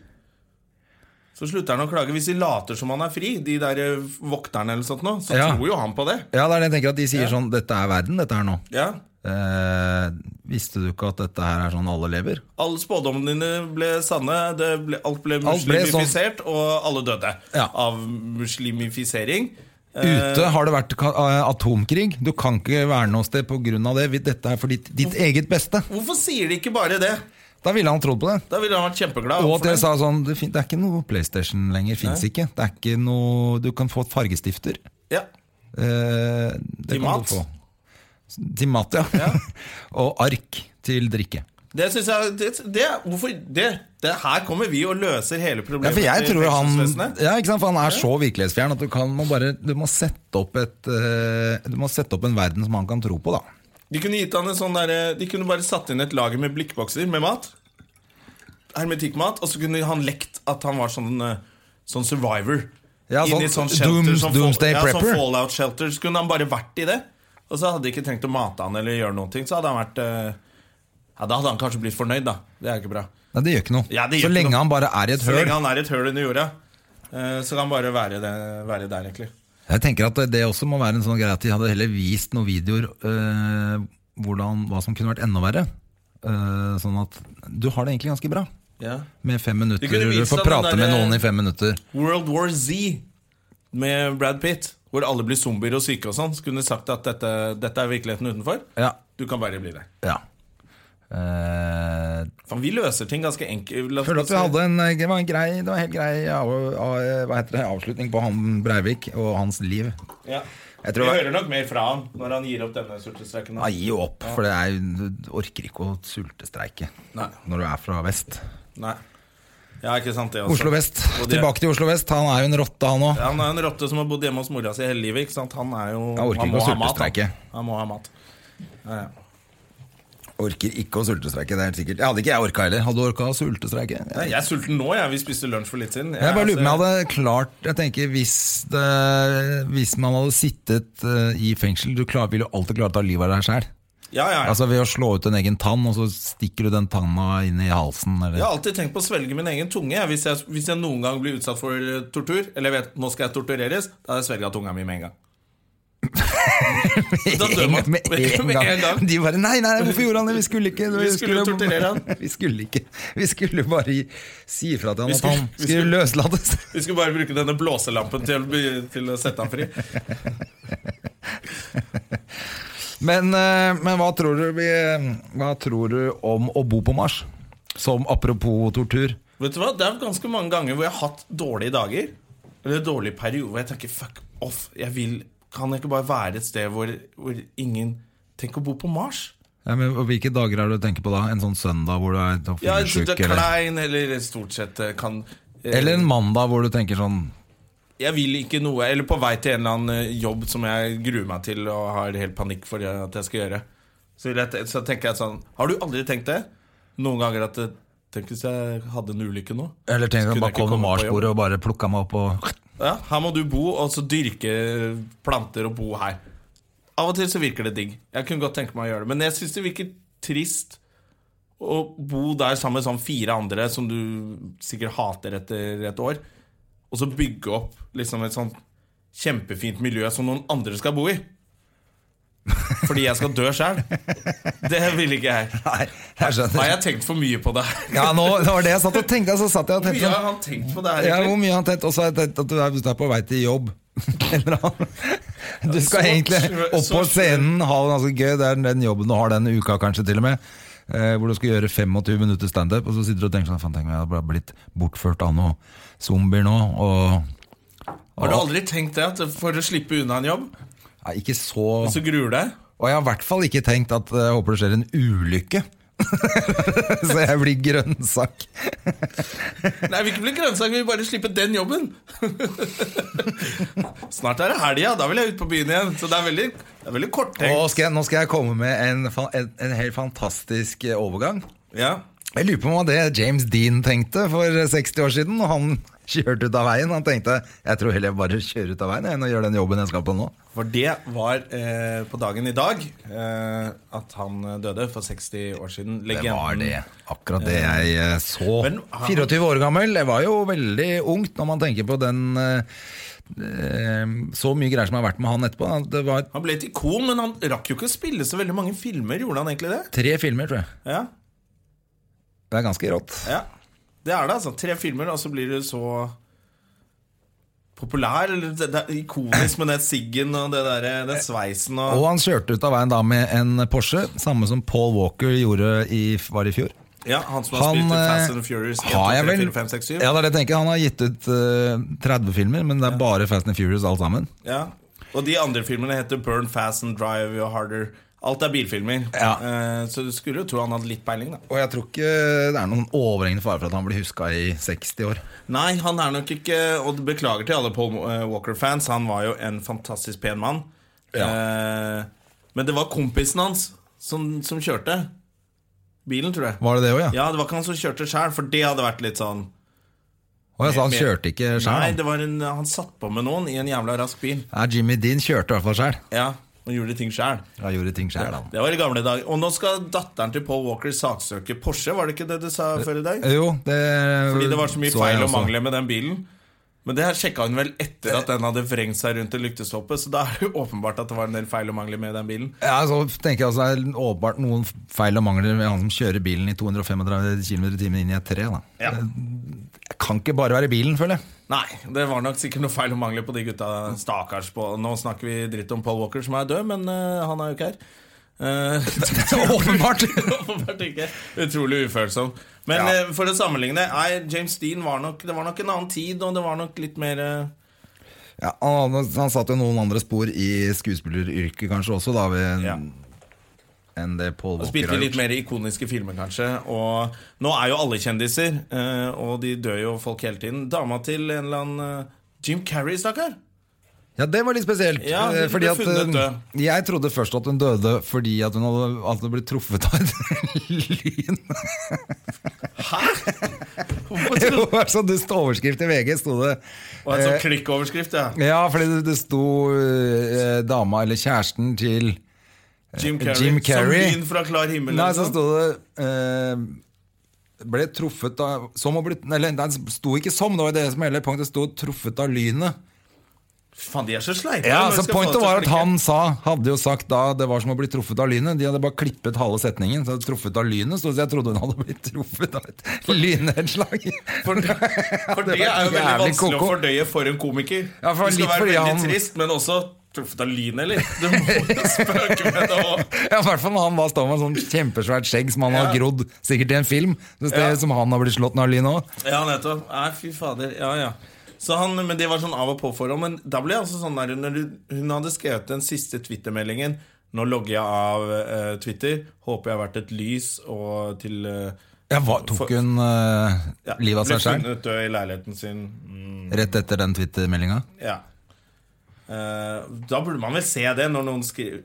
Speaker 1: Så slutter han å klage. Hvis de later som han er fri, de der eh, vokterne eller sånt nå, så
Speaker 2: Ja.
Speaker 1: tror jo han på det.
Speaker 2: Ja, det er det jeg tenker at de sier sånn Dette er verden, dette her nå.
Speaker 1: Ja
Speaker 2: Eh, visste du ikke at dette her er sånn alle lever?
Speaker 1: Alle spådommene dine ble sanne. Det ble, alt ble
Speaker 2: Alt ble sånn.
Speaker 1: muslimifisert, og alle døde
Speaker 2: Ja.
Speaker 1: av muslimifisering. Eh,
Speaker 2: Ute har det vært ka- eh, atomkrig. Du kan ikke være noe sted pga. det. Vi- Dette er for ditt, ditt eget beste.
Speaker 1: hvorfor sier de ikke bare det?
Speaker 2: Da ville han trodd på det.
Speaker 1: Da ville han vært kjempeglad.
Speaker 2: Og
Speaker 1: for
Speaker 2: at jeg
Speaker 1: det.
Speaker 2: sa sånn Det, fin, det er ikke noe PlayStation lenger. Fins ikke. Det er ikke noe Du kan få et fargestifter.
Speaker 1: ja.
Speaker 2: Eh, det
Speaker 1: Til
Speaker 2: kan
Speaker 1: mat?
Speaker 2: du få. Til mat, ja. og ark til drikke.
Speaker 1: Det synes jeg det, det, Hvorfor det? det? Her kommer vi og løser hele
Speaker 2: Ja,
Speaker 1: problemet.
Speaker 2: for jeg
Speaker 1: til
Speaker 2: tror han
Speaker 1: fengselsvesenet.
Speaker 2: ja, ikke sant? For han er så virkelighetsfjern at du, kan, må bare, du, må sette opp et, eh, du må sette opp en verden som han kan tro på, da.
Speaker 1: De kunne gitt han en sånn derre- De kunne bare satt inn et lager med blikkbokser med mat. Hermetikkmat. Og så kunne han lekt at han var sånn, eh, sånn survivor.
Speaker 2: Ja,
Speaker 1: Inn
Speaker 2: sånn
Speaker 1: i sånn shelter
Speaker 2: doom-
Speaker 1: som,
Speaker 2: doomsday
Speaker 1: ja, sånn
Speaker 2: prepper.
Speaker 1: fallout shelter. Så kunne han bare vært i det. Og så hadde de ikke trengt å mate han eller gjøre noen ting. Så hadde han vært eh, Ja, da hadde han kanskje blitt fornøyd, da. Det er ikke bra.
Speaker 2: Nei, det gjør ikke noe.
Speaker 1: Ja, det gjør
Speaker 2: så
Speaker 1: ikke
Speaker 2: lenge
Speaker 1: noe.
Speaker 2: han bare er i et
Speaker 1: Så
Speaker 2: høl.
Speaker 1: lenge han er i et høl under jorda, eh, så kan han bare være, det, være der, egentlig.
Speaker 2: Jeg tenker at det også må være en sånn greie at de hadde heller vist noen videoer eh, hvordan, hva som kunne vært enda verre. Eh, sånn at du har det egentlig ganske bra
Speaker 1: Ja.
Speaker 2: med fem minutter.
Speaker 1: kunne
Speaker 2: Du
Speaker 1: vist
Speaker 2: får
Speaker 1: deg den
Speaker 2: prate med
Speaker 1: der- eh,
Speaker 2: noen i fem minutter.
Speaker 1: World War Z med Brad Pitt, hvor alle blir zombier og syke og sånn, så kunne du sagt at dette, dette er virkeligheten utenfor.
Speaker 2: Ja,
Speaker 1: Du kan bare bli det.
Speaker 2: ja. Eh,
Speaker 1: Faen, vi løser ting ganske enkelt.
Speaker 2: Jeg føler at vi hadde en, eh, det var en grei, det var en helt grei av, av, eh, hva heter det, avslutning på han Breivik og hans liv.
Speaker 1: Ja.
Speaker 2: Jeg
Speaker 1: Vi
Speaker 2: tror
Speaker 1: hører nok mer fra han når han gir opp denne sultestreken.
Speaker 2: jeg gir jo opp, for det er, jo- du orker ikke å sultestreike
Speaker 1: Nei.
Speaker 2: når du er fra vest.
Speaker 1: Nei. Ja, ikke sant det også.
Speaker 2: Oslo vest.
Speaker 1: Og det-
Speaker 2: Tilbake til Oslo vest. Han er jo en rotte, han òg.
Speaker 1: Ja, han er en rotte som har bodd hjemme hos mora si hele livet. Ikke sant? Han er jo
Speaker 2: Jeg
Speaker 1: må
Speaker 2: orker ikke å
Speaker 1: ha mat,
Speaker 2: sultestreike.
Speaker 1: han. Han må ha mat. Ja, ja.
Speaker 2: Orker ikke å sultestreike, det er helt sikkert. Jeg hadde ikke jeg orka heller. Hadde du orka å sultestreike?
Speaker 1: Nei, Jeg er sulten nå, jeg. Vi spiste lunsj for litt siden.
Speaker 2: Jeg bare lurer på om jeg
Speaker 1: altså,
Speaker 2: hadde klart Jeg tenker hvis, det, hvis man hadde sittet eh, i fengsel Du klar, vil jo alltid klare å ta livet av deg sjæl.
Speaker 1: ja, ja, ja.
Speaker 2: Altså Ved å slå ut en egen tann, og så stikker du den tanna inn i halsen. Eller?
Speaker 1: Jeg har alltid tenkt på å svelge min egen tunge. Jeg. Hvis, jeg, hvis jeg noen gang blir utsatt for eh, tortur, eller jeg vet nå skal jeg tortureres, da hadde jeg svelga tunga mi med en gang. Da dør man.
Speaker 2: Med en gang.
Speaker 1: Med en gang.
Speaker 2: De bare nei, nei, hvorfor gjorde han det? Vi skulle ikke
Speaker 1: Vi skulle jo torturere han.
Speaker 2: Vi skulle ikke Vi skulle bare gi- si ifra til han
Speaker 1: Vi
Speaker 2: at
Speaker 1: skulle-
Speaker 2: han
Speaker 1: vi
Speaker 2: skulle
Speaker 1: skulle-
Speaker 2: løslates.
Speaker 1: Vi skulle bare bruke denne blåselampen til, å bli- til å sette ham fri.
Speaker 2: Men, eh, men hva, tror du vi, hva tror du om å bo på Mars? Som apropos tortur.
Speaker 1: Vet du hva, Det er ganske mange ganger hvor jeg har hatt dårlige dager. Eller dårlige perioder hvor jeg tenker fuck off. Jeg vil, Kan jeg ikke bare være et sted hvor, hvor ingen Tenk å bo på Mars.
Speaker 2: Ja, men og Hvilke dager er det du tenker på da? En sånn søndag hvor du er
Speaker 1: Ja, jeg synes
Speaker 2: fyllesyk?
Speaker 1: det er
Speaker 2: eller,
Speaker 1: klein, eller stort sett eh, kan eh,
Speaker 2: eller en mandag hvor du tenker sånn
Speaker 1: Jeg vil ikke noe Eller på vei til en eller annen eh, jobb som jeg gruer meg til og har helt panikk for at jeg skal gjøre. Så, vil jeg, te- så tenker jeg sånn Har du aldri tenkt det? Noen ganger at eh, Tenk hvis jeg hadde en ulykke nå.
Speaker 2: Eller
Speaker 1: Skulle
Speaker 2: tenker du
Speaker 1: jeg
Speaker 2: bare
Speaker 1: ikke
Speaker 2: kom
Speaker 1: komme på
Speaker 2: Mars-bordet og bare plukka meg opp og
Speaker 1: Ja, her må du bo, og så dyrke planter og bo her. Av og til så virker det digg. Jeg kunne godt tenke meg å gjøre det. Men jeg syns det virker trist å bo der sammen med sånn fire andre som du sikkert hater etter et år, og så bygge opp liksom et sånt kjempefint miljø som noen andre skal bo i. Fordi jeg skal dø sjæl. Det vil ikke jeg.
Speaker 2: Nei, jeg
Speaker 1: Har
Speaker 2: skjønner.
Speaker 1: jeg tenkt for mye på det her?
Speaker 2: Ja, nå, det var det jeg satt og tenkte. Så satt jeg og
Speaker 1: Hvor
Speaker 2: tenkte
Speaker 1: mye
Speaker 2: sånn,
Speaker 1: har han tenkt på det her,
Speaker 2: ja, Hvor
Speaker 1: egentlig?
Speaker 2: mye har han tett? Og så har jeg tenkt at du er, du er på vei til jobb. Eller annet. Du skal
Speaker 1: Så-
Speaker 2: egentlig opp på
Speaker 1: så-
Speaker 2: scenen, ha det ganske gøy. Det er den jobben du har den uka, kanskje, til og med. Eh, hvor du skal gjøre 25 minutter standup, og så sitter du og tenker sånn Faen, tenk om jeg hadde blitt bortført av noen zombier nå, og
Speaker 1: Har du aldri tenkt det? At for å slippe unna en jobb,
Speaker 2: Nei, ikke så
Speaker 1: så gruer du deg?
Speaker 2: Og jeg har i hvert fall ikke tenkt at eh, jeg håper det skjer en ulykke. så jeg blir grønnsak.
Speaker 1: Nei, vi vil ikke bli grønnsak, vi vil bare slippe den jobben. Snart er det helga, da vil jeg ut på byen igjen. Så det er veldig, det er veldig korttenkt.
Speaker 2: Og skal jeg, nå skal jeg komme med en, fa- en, en helt fantastisk eh, overgang.
Speaker 1: Ja.
Speaker 2: Jeg lurer på om det var det James Dean tenkte for 60 år siden. Og han kjørte ut av veien. Han tenkte jeg tror heller jeg bare kjører ut av veien jeg, enn å gjøre den jobben jeg skal på nå.
Speaker 1: For det var eh, på dagen i dag eh, at han døde for 60 år siden.
Speaker 2: Det
Speaker 1: Legenden.
Speaker 2: var det. Akkurat det jeg eh, så.
Speaker 1: Men han-
Speaker 2: 24 år gammel. Det var jo veldig ungt når man tenker på den eh, eh, Så mye greier som har vært med han etterpå. Det var
Speaker 1: Han ble et ikon, men han rakk jo ikke å spille så veldig mange filmer. Gjorde han egentlig det?
Speaker 2: tre filmer, tror jeg.
Speaker 1: Ja,
Speaker 2: Det er ganske rått.
Speaker 1: ja. Det er det, altså. Tre filmer, og så blir du så populær. Eller, det, det er ikonisk med den siggen og det der, den sveisen og
Speaker 2: Og han kjørte ut av veien da med en Porsche, samme som Paul Walker gjorde i, var i fjor.
Speaker 1: Ja, han som har
Speaker 2: Han,
Speaker 1: spilt i Fast
Speaker 2: eh,
Speaker 1: and Furious 1,
Speaker 2: har
Speaker 1: 2,
Speaker 2: jeg
Speaker 1: 3,
Speaker 2: vel-
Speaker 1: 4, 5, 6, 7
Speaker 2: Ja, det er det jeg tenker. Han har gitt ut eh, 30 filmer, men det er bare Fast and Furious alt sammen.
Speaker 1: ja. Og de andre filmene heter Burn Fast and Drive Your Harder Alt er bilfilmer
Speaker 2: Ja.
Speaker 1: Eh, Så du skulle jo tro han hadde litt peiling da
Speaker 2: Og jeg tror ikke det er noen overhengende fare for at han blir huska i 60 år.
Speaker 1: Nei, han er nok ikke Og beklager til alle Paul eh, Walker-fans Han var jo en fantastisk pen mann Eh, Men det var kompisen hans som, som kjørte Bilen, tror jeg
Speaker 2: Var det det òg, ja?
Speaker 1: Ja, det var ikke han som kjørte selv For det hadde vært litt sånn
Speaker 2: Og jeg sa han
Speaker 1: Med-
Speaker 2: kjørte ikke
Speaker 1: Nei,
Speaker 2: sjøl.
Speaker 1: det var en, han satt på med noen i en jævla rask bil.
Speaker 2: Nei, Jimmy Dean kjørte i hvert fall sjøl.
Speaker 1: Ja, og gjorde ting sjæl.
Speaker 2: Han gjorde ting sjøl, han.
Speaker 1: Det var i gamle dager. Og nå skal datteren til Paul Walker saksøke Porsche, var det ikke det du sa før i dag?
Speaker 2: Jo, det
Speaker 1: Fordi det var så mye
Speaker 2: Eh, jeg
Speaker 1: feil og
Speaker 2: også.
Speaker 1: mangler med den bilen. Men det her sjekka hun vel etter at den hadde vrengt seg rundt i lyktestolpe, så da er det jo åpenbart at det var en del feil og mangler med den bilen.
Speaker 2: Ja, så tenker jeg altså Det er åpenbart noen feil og mangler ved han som kjører bilen i 235 km i timen inn i et tre. Da.
Speaker 1: Ja.
Speaker 2: Jeg kan ikke bare være bilen, føler jeg.
Speaker 1: Nei, det var nok sikkert noe feil og mangler på de gutta. Stakkars på Nå snakker vi dritt om Paul Walker, som er død, men eh, han er jo ikke her. Eh,
Speaker 2: Så åpenbart!
Speaker 1: åpenbart ikke. Utrolig ufølsom. Men
Speaker 2: Ja.
Speaker 1: eh, for å sammenligne nei, James Dean var nok, det var nok en annen tid, og det var nok litt mer eh,
Speaker 2: Ja, han, han satte jo noen andre spor i skuespilleryrket kanskje også, da, ved,
Speaker 1: Ja.
Speaker 2: enn det Paul
Speaker 1: Og
Speaker 2: Walker
Speaker 1: spilte
Speaker 2: har
Speaker 1: litt
Speaker 2: gjort.
Speaker 1: mer ikoniske filmer, kanskje. Og nå er jo alle kjendiser, eh, og de dør jo folk hele tiden. Dama til en eller annen eh, Jim Carrey, stakkar.
Speaker 2: Ja, det var litt spesielt.
Speaker 1: Ja,
Speaker 2: eh,
Speaker 1: hun
Speaker 2: fordi
Speaker 1: ble
Speaker 2: at,
Speaker 1: funnet død.
Speaker 2: eh, jeg trodde først at hun døde fordi at hun hadde, at hun ble truffet av et lyn.
Speaker 1: Hæ?! Hvorfor
Speaker 2: Det
Speaker 1: trodde-
Speaker 2: var så dust overskrift i VG, sto det.
Speaker 1: Og en sånn
Speaker 2: Eh,
Speaker 1: klikkoverskrift, ja.
Speaker 2: Ja, fordi det, det sto eh, dama eller kjæresten til
Speaker 1: Jim Carrey.
Speaker 2: Jim Carrey.
Speaker 1: Som lyn fra klar himmel. liksom.
Speaker 2: Nei,
Speaker 1: eller noe.
Speaker 2: så sto det eh, Ble truffet av Som å bli Eller nei, det sto ikke som, det var det som hele punktet. Det sto 'truffet av lynet'.
Speaker 1: Faen, de er så sleipe.
Speaker 2: Ja,
Speaker 1: Når
Speaker 2: så
Speaker 1: vi skal få
Speaker 2: Pointet
Speaker 1: til å
Speaker 2: var at
Speaker 1: klikke.
Speaker 2: han sa hadde jo sagt da det var som å bli truffet av lynet. De hadde bare klippet halve setningen. Så 'truffet av lynet' sto det, så jeg trodde hun hadde blitt truffet av et lynnedslag.
Speaker 1: For, for det
Speaker 2: var
Speaker 1: er jo veldig
Speaker 2: jævlig
Speaker 1: vanskelig
Speaker 2: koko.
Speaker 1: å fordøye for en komiker.
Speaker 2: Ja, for
Speaker 1: du
Speaker 2: litt
Speaker 1: skal være
Speaker 2: fordi
Speaker 1: veldig
Speaker 2: han-
Speaker 1: trist, men også truffet av lyn, eller? Du må jo spøke med det òg.
Speaker 2: Ja, I hvert fall når han da står med sånn kjempesvært skjegg som han har
Speaker 1: Ja.
Speaker 2: grodd sikkert i en film. Så det
Speaker 1: Ja.
Speaker 2: Som han har blitt slått av lynet òg.
Speaker 1: Ja, nettopp. Nei, fy fader. Ja, ja. Så han, men det var sånn av og på-forhold. Men da ble jeg altså sånn der når du, Hun hadde skrevet den siste Twitter-meldingen. Nå logger jeg av eh, Twitter. Håper jeg har vært et lys og til eh,
Speaker 2: Ja, hva- tok hun eh,
Speaker 1: ja,
Speaker 2: livet av seg
Speaker 1: Ble
Speaker 2: sjøl
Speaker 1: funnet død i leiligheten sin. Mm,
Speaker 2: rett etter den Twitter-meldinga?
Speaker 1: ja. Eh, da burde man vel se det når noen skriver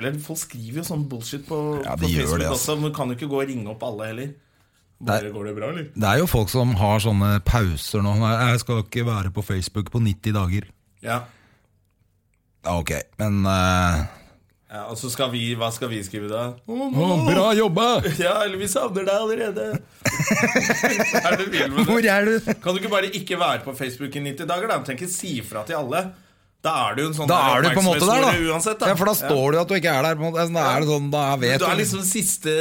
Speaker 1: Eller folk skriver jo sånn bullshit på,
Speaker 2: Ja,
Speaker 1: på
Speaker 2: de gjør
Speaker 1: Facebook
Speaker 2: det, altså.
Speaker 1: også. Men du kan jo ikke gå og ringe opp alle heller.
Speaker 2: Nei.
Speaker 1: Bare, går det bra, eller?
Speaker 2: Det er jo folk som har sånne pauser nå. Nei, Jeg skal ikke være på Facebook på 90 dager.
Speaker 1: Ja.
Speaker 2: Ja, ok. Men eh,
Speaker 1: ja. Og så skal vi Hva skal vi skrive da?
Speaker 2: å, Bra jobba!
Speaker 1: Ja, eller vi savner deg allerede. Hva er det du vil med det?
Speaker 2: Hvor er du?
Speaker 1: Kan du ikke bare ikke være på Facebook i 90 dager? da? Du trenger ikke si ifra til alle. Da er du en sånn
Speaker 2: Da
Speaker 1: der
Speaker 2: er du på en måte der, da.
Speaker 1: oppmerksomhetshore Uansett, da.
Speaker 2: Ja, for da står du at du ikke er der. på en måte. Altså, Da er det sånn, da
Speaker 1: Ja.
Speaker 2: vet
Speaker 1: Du
Speaker 2: du.
Speaker 1: er liksom siste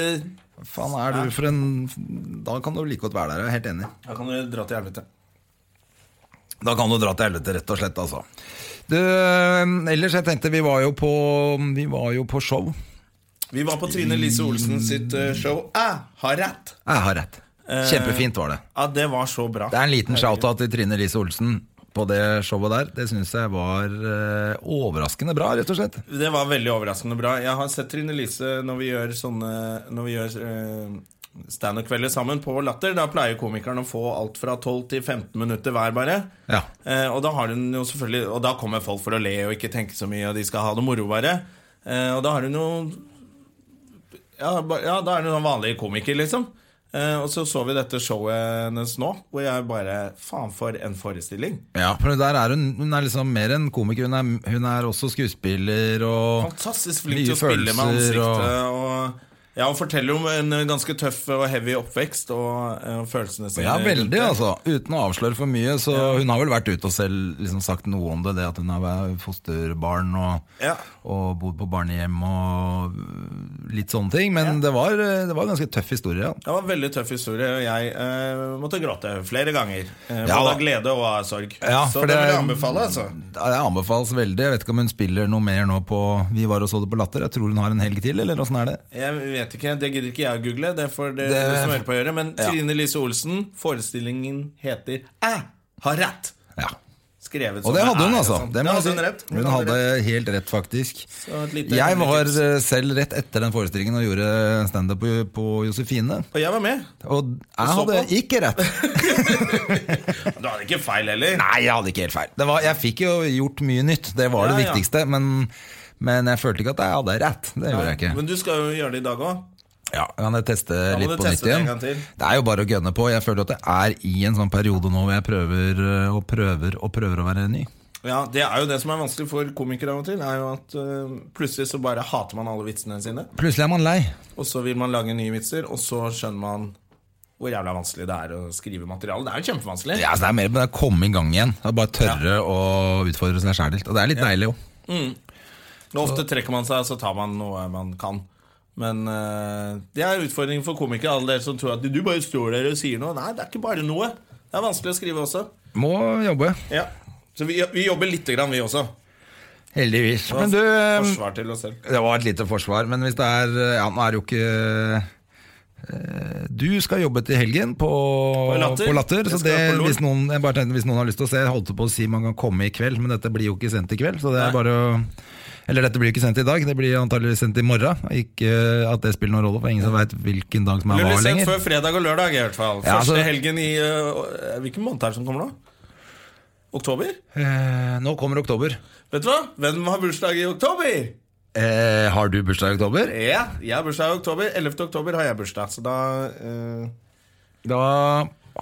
Speaker 2: Faen, er du for en Da kan du like godt være der. Jeg er helt enig.
Speaker 1: Da kan du dra til helvete.
Speaker 2: Da kan du dra til helvete, rett og slett, altså. Du, ehm, ellers, jeg tenkte vi var jo på, vi var jo på show.
Speaker 1: Vi var på Trine Lise Olsen sitt eh, show. Jeg har rett!
Speaker 2: Jeg har rett. Kjempefint var det.
Speaker 1: Ja, det var så bra.
Speaker 2: Det er en liten shout-out til Trine Lise Olsen på det showet der. Det syns jeg var eh, overraskende bra, rett og slett.
Speaker 1: Det var veldig overraskende bra. Jeg har sett Trine Lise når vi gjør sånne Når vi gjør eh, standup-kvelder sammen på Latter. Da pleier komikeren å få alt fra 12 til 15 minutter hver, bare.
Speaker 2: Ja.
Speaker 1: Eh, og da har hun jo selvfølgelig Og da kommer folk for å le og ikke tenke så mye, og de skal ha det moro, bare. Eh, og da har hun jo ja, ba- ja, da er hun en vanlig komiker, liksom. Eh, og så så vi dette showet hennes nå, hvor jeg bare Faen, for en forestilling.
Speaker 2: ja for der er hun, hun er liksom mer enn komiker. Hun er, hun er også skuespiller og
Speaker 1: Fantastisk flink
Speaker 2: Mye
Speaker 1: til å spille med
Speaker 2: følelser
Speaker 1: ansiktet.
Speaker 2: og-
Speaker 1: Og, ja, og forteller om en eh, ganske tøff og heavy oppvekst og eh, følelsene sine.
Speaker 2: ja,
Speaker 1: rundt
Speaker 2: veldig,
Speaker 1: det.
Speaker 2: altså. Uten å avsløre for mye. Så hun har vel vært ute og selv liksom sagt noe om det. Det at hun er fosterbarn og,
Speaker 1: Ja.
Speaker 2: og bodd på barnehjem og litt sånne ting. Men det, var, eh, det var en ganske tøff historie. Ja.
Speaker 1: Det var en veldig tøff historie, og jeg eh, måtte gråte flere ganger. Eh,
Speaker 2: Ja,
Speaker 1: både
Speaker 2: da.
Speaker 1: av glede og av sorg.
Speaker 2: Ja,
Speaker 1: Så
Speaker 2: for
Speaker 1: det
Speaker 2: det-
Speaker 1: vil jeg anbefale, altså.
Speaker 2: Ja, Det anbefales veldig. Jeg vet ikke om hun spiller noe mer nå på Vi var og så det på Latter. Jeg tror hun har en helg til, eller åssen er det?
Speaker 1: Jeg vet ikke, Det gidder ikke jeg å google, det får det,
Speaker 2: Det-
Speaker 1: det som hører på å gjøre. Men
Speaker 2: Ja.
Speaker 1: Trine Lise Olsen, forestillingen heter 'Æ har rett'.
Speaker 2: Ja.
Speaker 1: Skrevet
Speaker 2: Og det hadde hun,
Speaker 1: æ,
Speaker 2: altså.
Speaker 1: sant?
Speaker 2: Det
Speaker 1: sånn. Ja,
Speaker 2: må jeg
Speaker 1: hadde hun
Speaker 2: si.
Speaker 1: rett.
Speaker 2: Hun hadde helt rett, faktisk.
Speaker 1: Så et lite
Speaker 2: Jeg var
Speaker 1: tips.
Speaker 2: eh, selv rett etter den forestillingen og gjorde standup på- på Josefine.
Speaker 1: Og jeg var med.
Speaker 2: Og jeg
Speaker 1: så
Speaker 2: hadde
Speaker 1: på?
Speaker 2: ikke rett.
Speaker 1: Du hadde ikke feil heller.
Speaker 2: Nei, jeg hadde ikke helt feil. Det var, jeg fikk jo gjort mye nytt, det var det
Speaker 1: Ja, ja.
Speaker 2: viktigste. Men, men jeg følte ikke at jeg hadde rett. Det gjorde jeg ikke.
Speaker 1: Men du skal jo gjøre det i dag òg.
Speaker 2: Ja, kan jeg teste
Speaker 1: må
Speaker 2: litt
Speaker 1: du
Speaker 2: på
Speaker 1: teste
Speaker 2: nytt
Speaker 1: det en
Speaker 2: igjen?
Speaker 1: gang til.
Speaker 2: Det er jo bare å gønne på. Jeg føler at det er i en sånn periode nå hvor jeg prøver øh, og prøver og prøver å være ny.
Speaker 1: Ja, Det er jo det som er vanskelig for komikere av og til. er jo at eh, Plutselig så bare hater man alle vitsene sine.
Speaker 2: Plutselig er man lei.
Speaker 1: Og så vil man lage nye vitser, og så skjønner man hvor jævla vanskelig det er å skrive materiale. Det er jo kjempevanskelig.
Speaker 2: Ja, altså det er mer bare å komme i gang igjen. Det er bare tørre å utfordre seg sjæl litt. Og det er litt deilig òg.
Speaker 1: Nå ofte trekker man seg, så tar man noe man kan. Men eh, det er utfordringen for komikere, alle dere som tror at du bare står der og sier noe. Nei, det er ikke bare noe. Det er vanskelig å skrive også.
Speaker 2: Må jobbe.
Speaker 1: Ja. Så vi, vi jobber lite grann, vi også.
Speaker 2: Heldigvis. Men du øh,
Speaker 1: Forsvar til oss selv.
Speaker 2: Det var et lite forsvar, men hvis det er Ja, nå er det jo ikke eh, du skal jobbe til helgen på, på
Speaker 1: Latter.
Speaker 2: Latter.
Speaker 1: Jeg
Speaker 2: så
Speaker 1: skal
Speaker 2: det,
Speaker 1: på LOL.
Speaker 2: hvis, noen, jeg bare tenkte, hvis noen har lyst til å se, jeg holdt på å si man kan komme i kveld, men dette blir jo ikke sendt i kveld. Så det
Speaker 1: Nei.
Speaker 2: er bare å Eller dette blir jo ikke sendt i dag, det blir antageligvis sendt i morgen. Ikke eh, at det spiller noen rolle, for ingen som veit hvilken dag som er hva
Speaker 1: Lullisent
Speaker 2: lenger.
Speaker 1: før fredag og lørdag, i hvert fall.
Speaker 2: Ja, altså-
Speaker 1: Første helgen i eh, Hvilken måned er det som kommer nå? Oktober?
Speaker 2: Eh, nå kommer oktober.
Speaker 1: Vet du hva? Hvem har bursdag i oktober?
Speaker 2: Eh, har du bursdag i oktober?
Speaker 1: Ja, jeg har bursdag i oktober. 11. oktober har jeg bursdag, så da eh,
Speaker 2: Da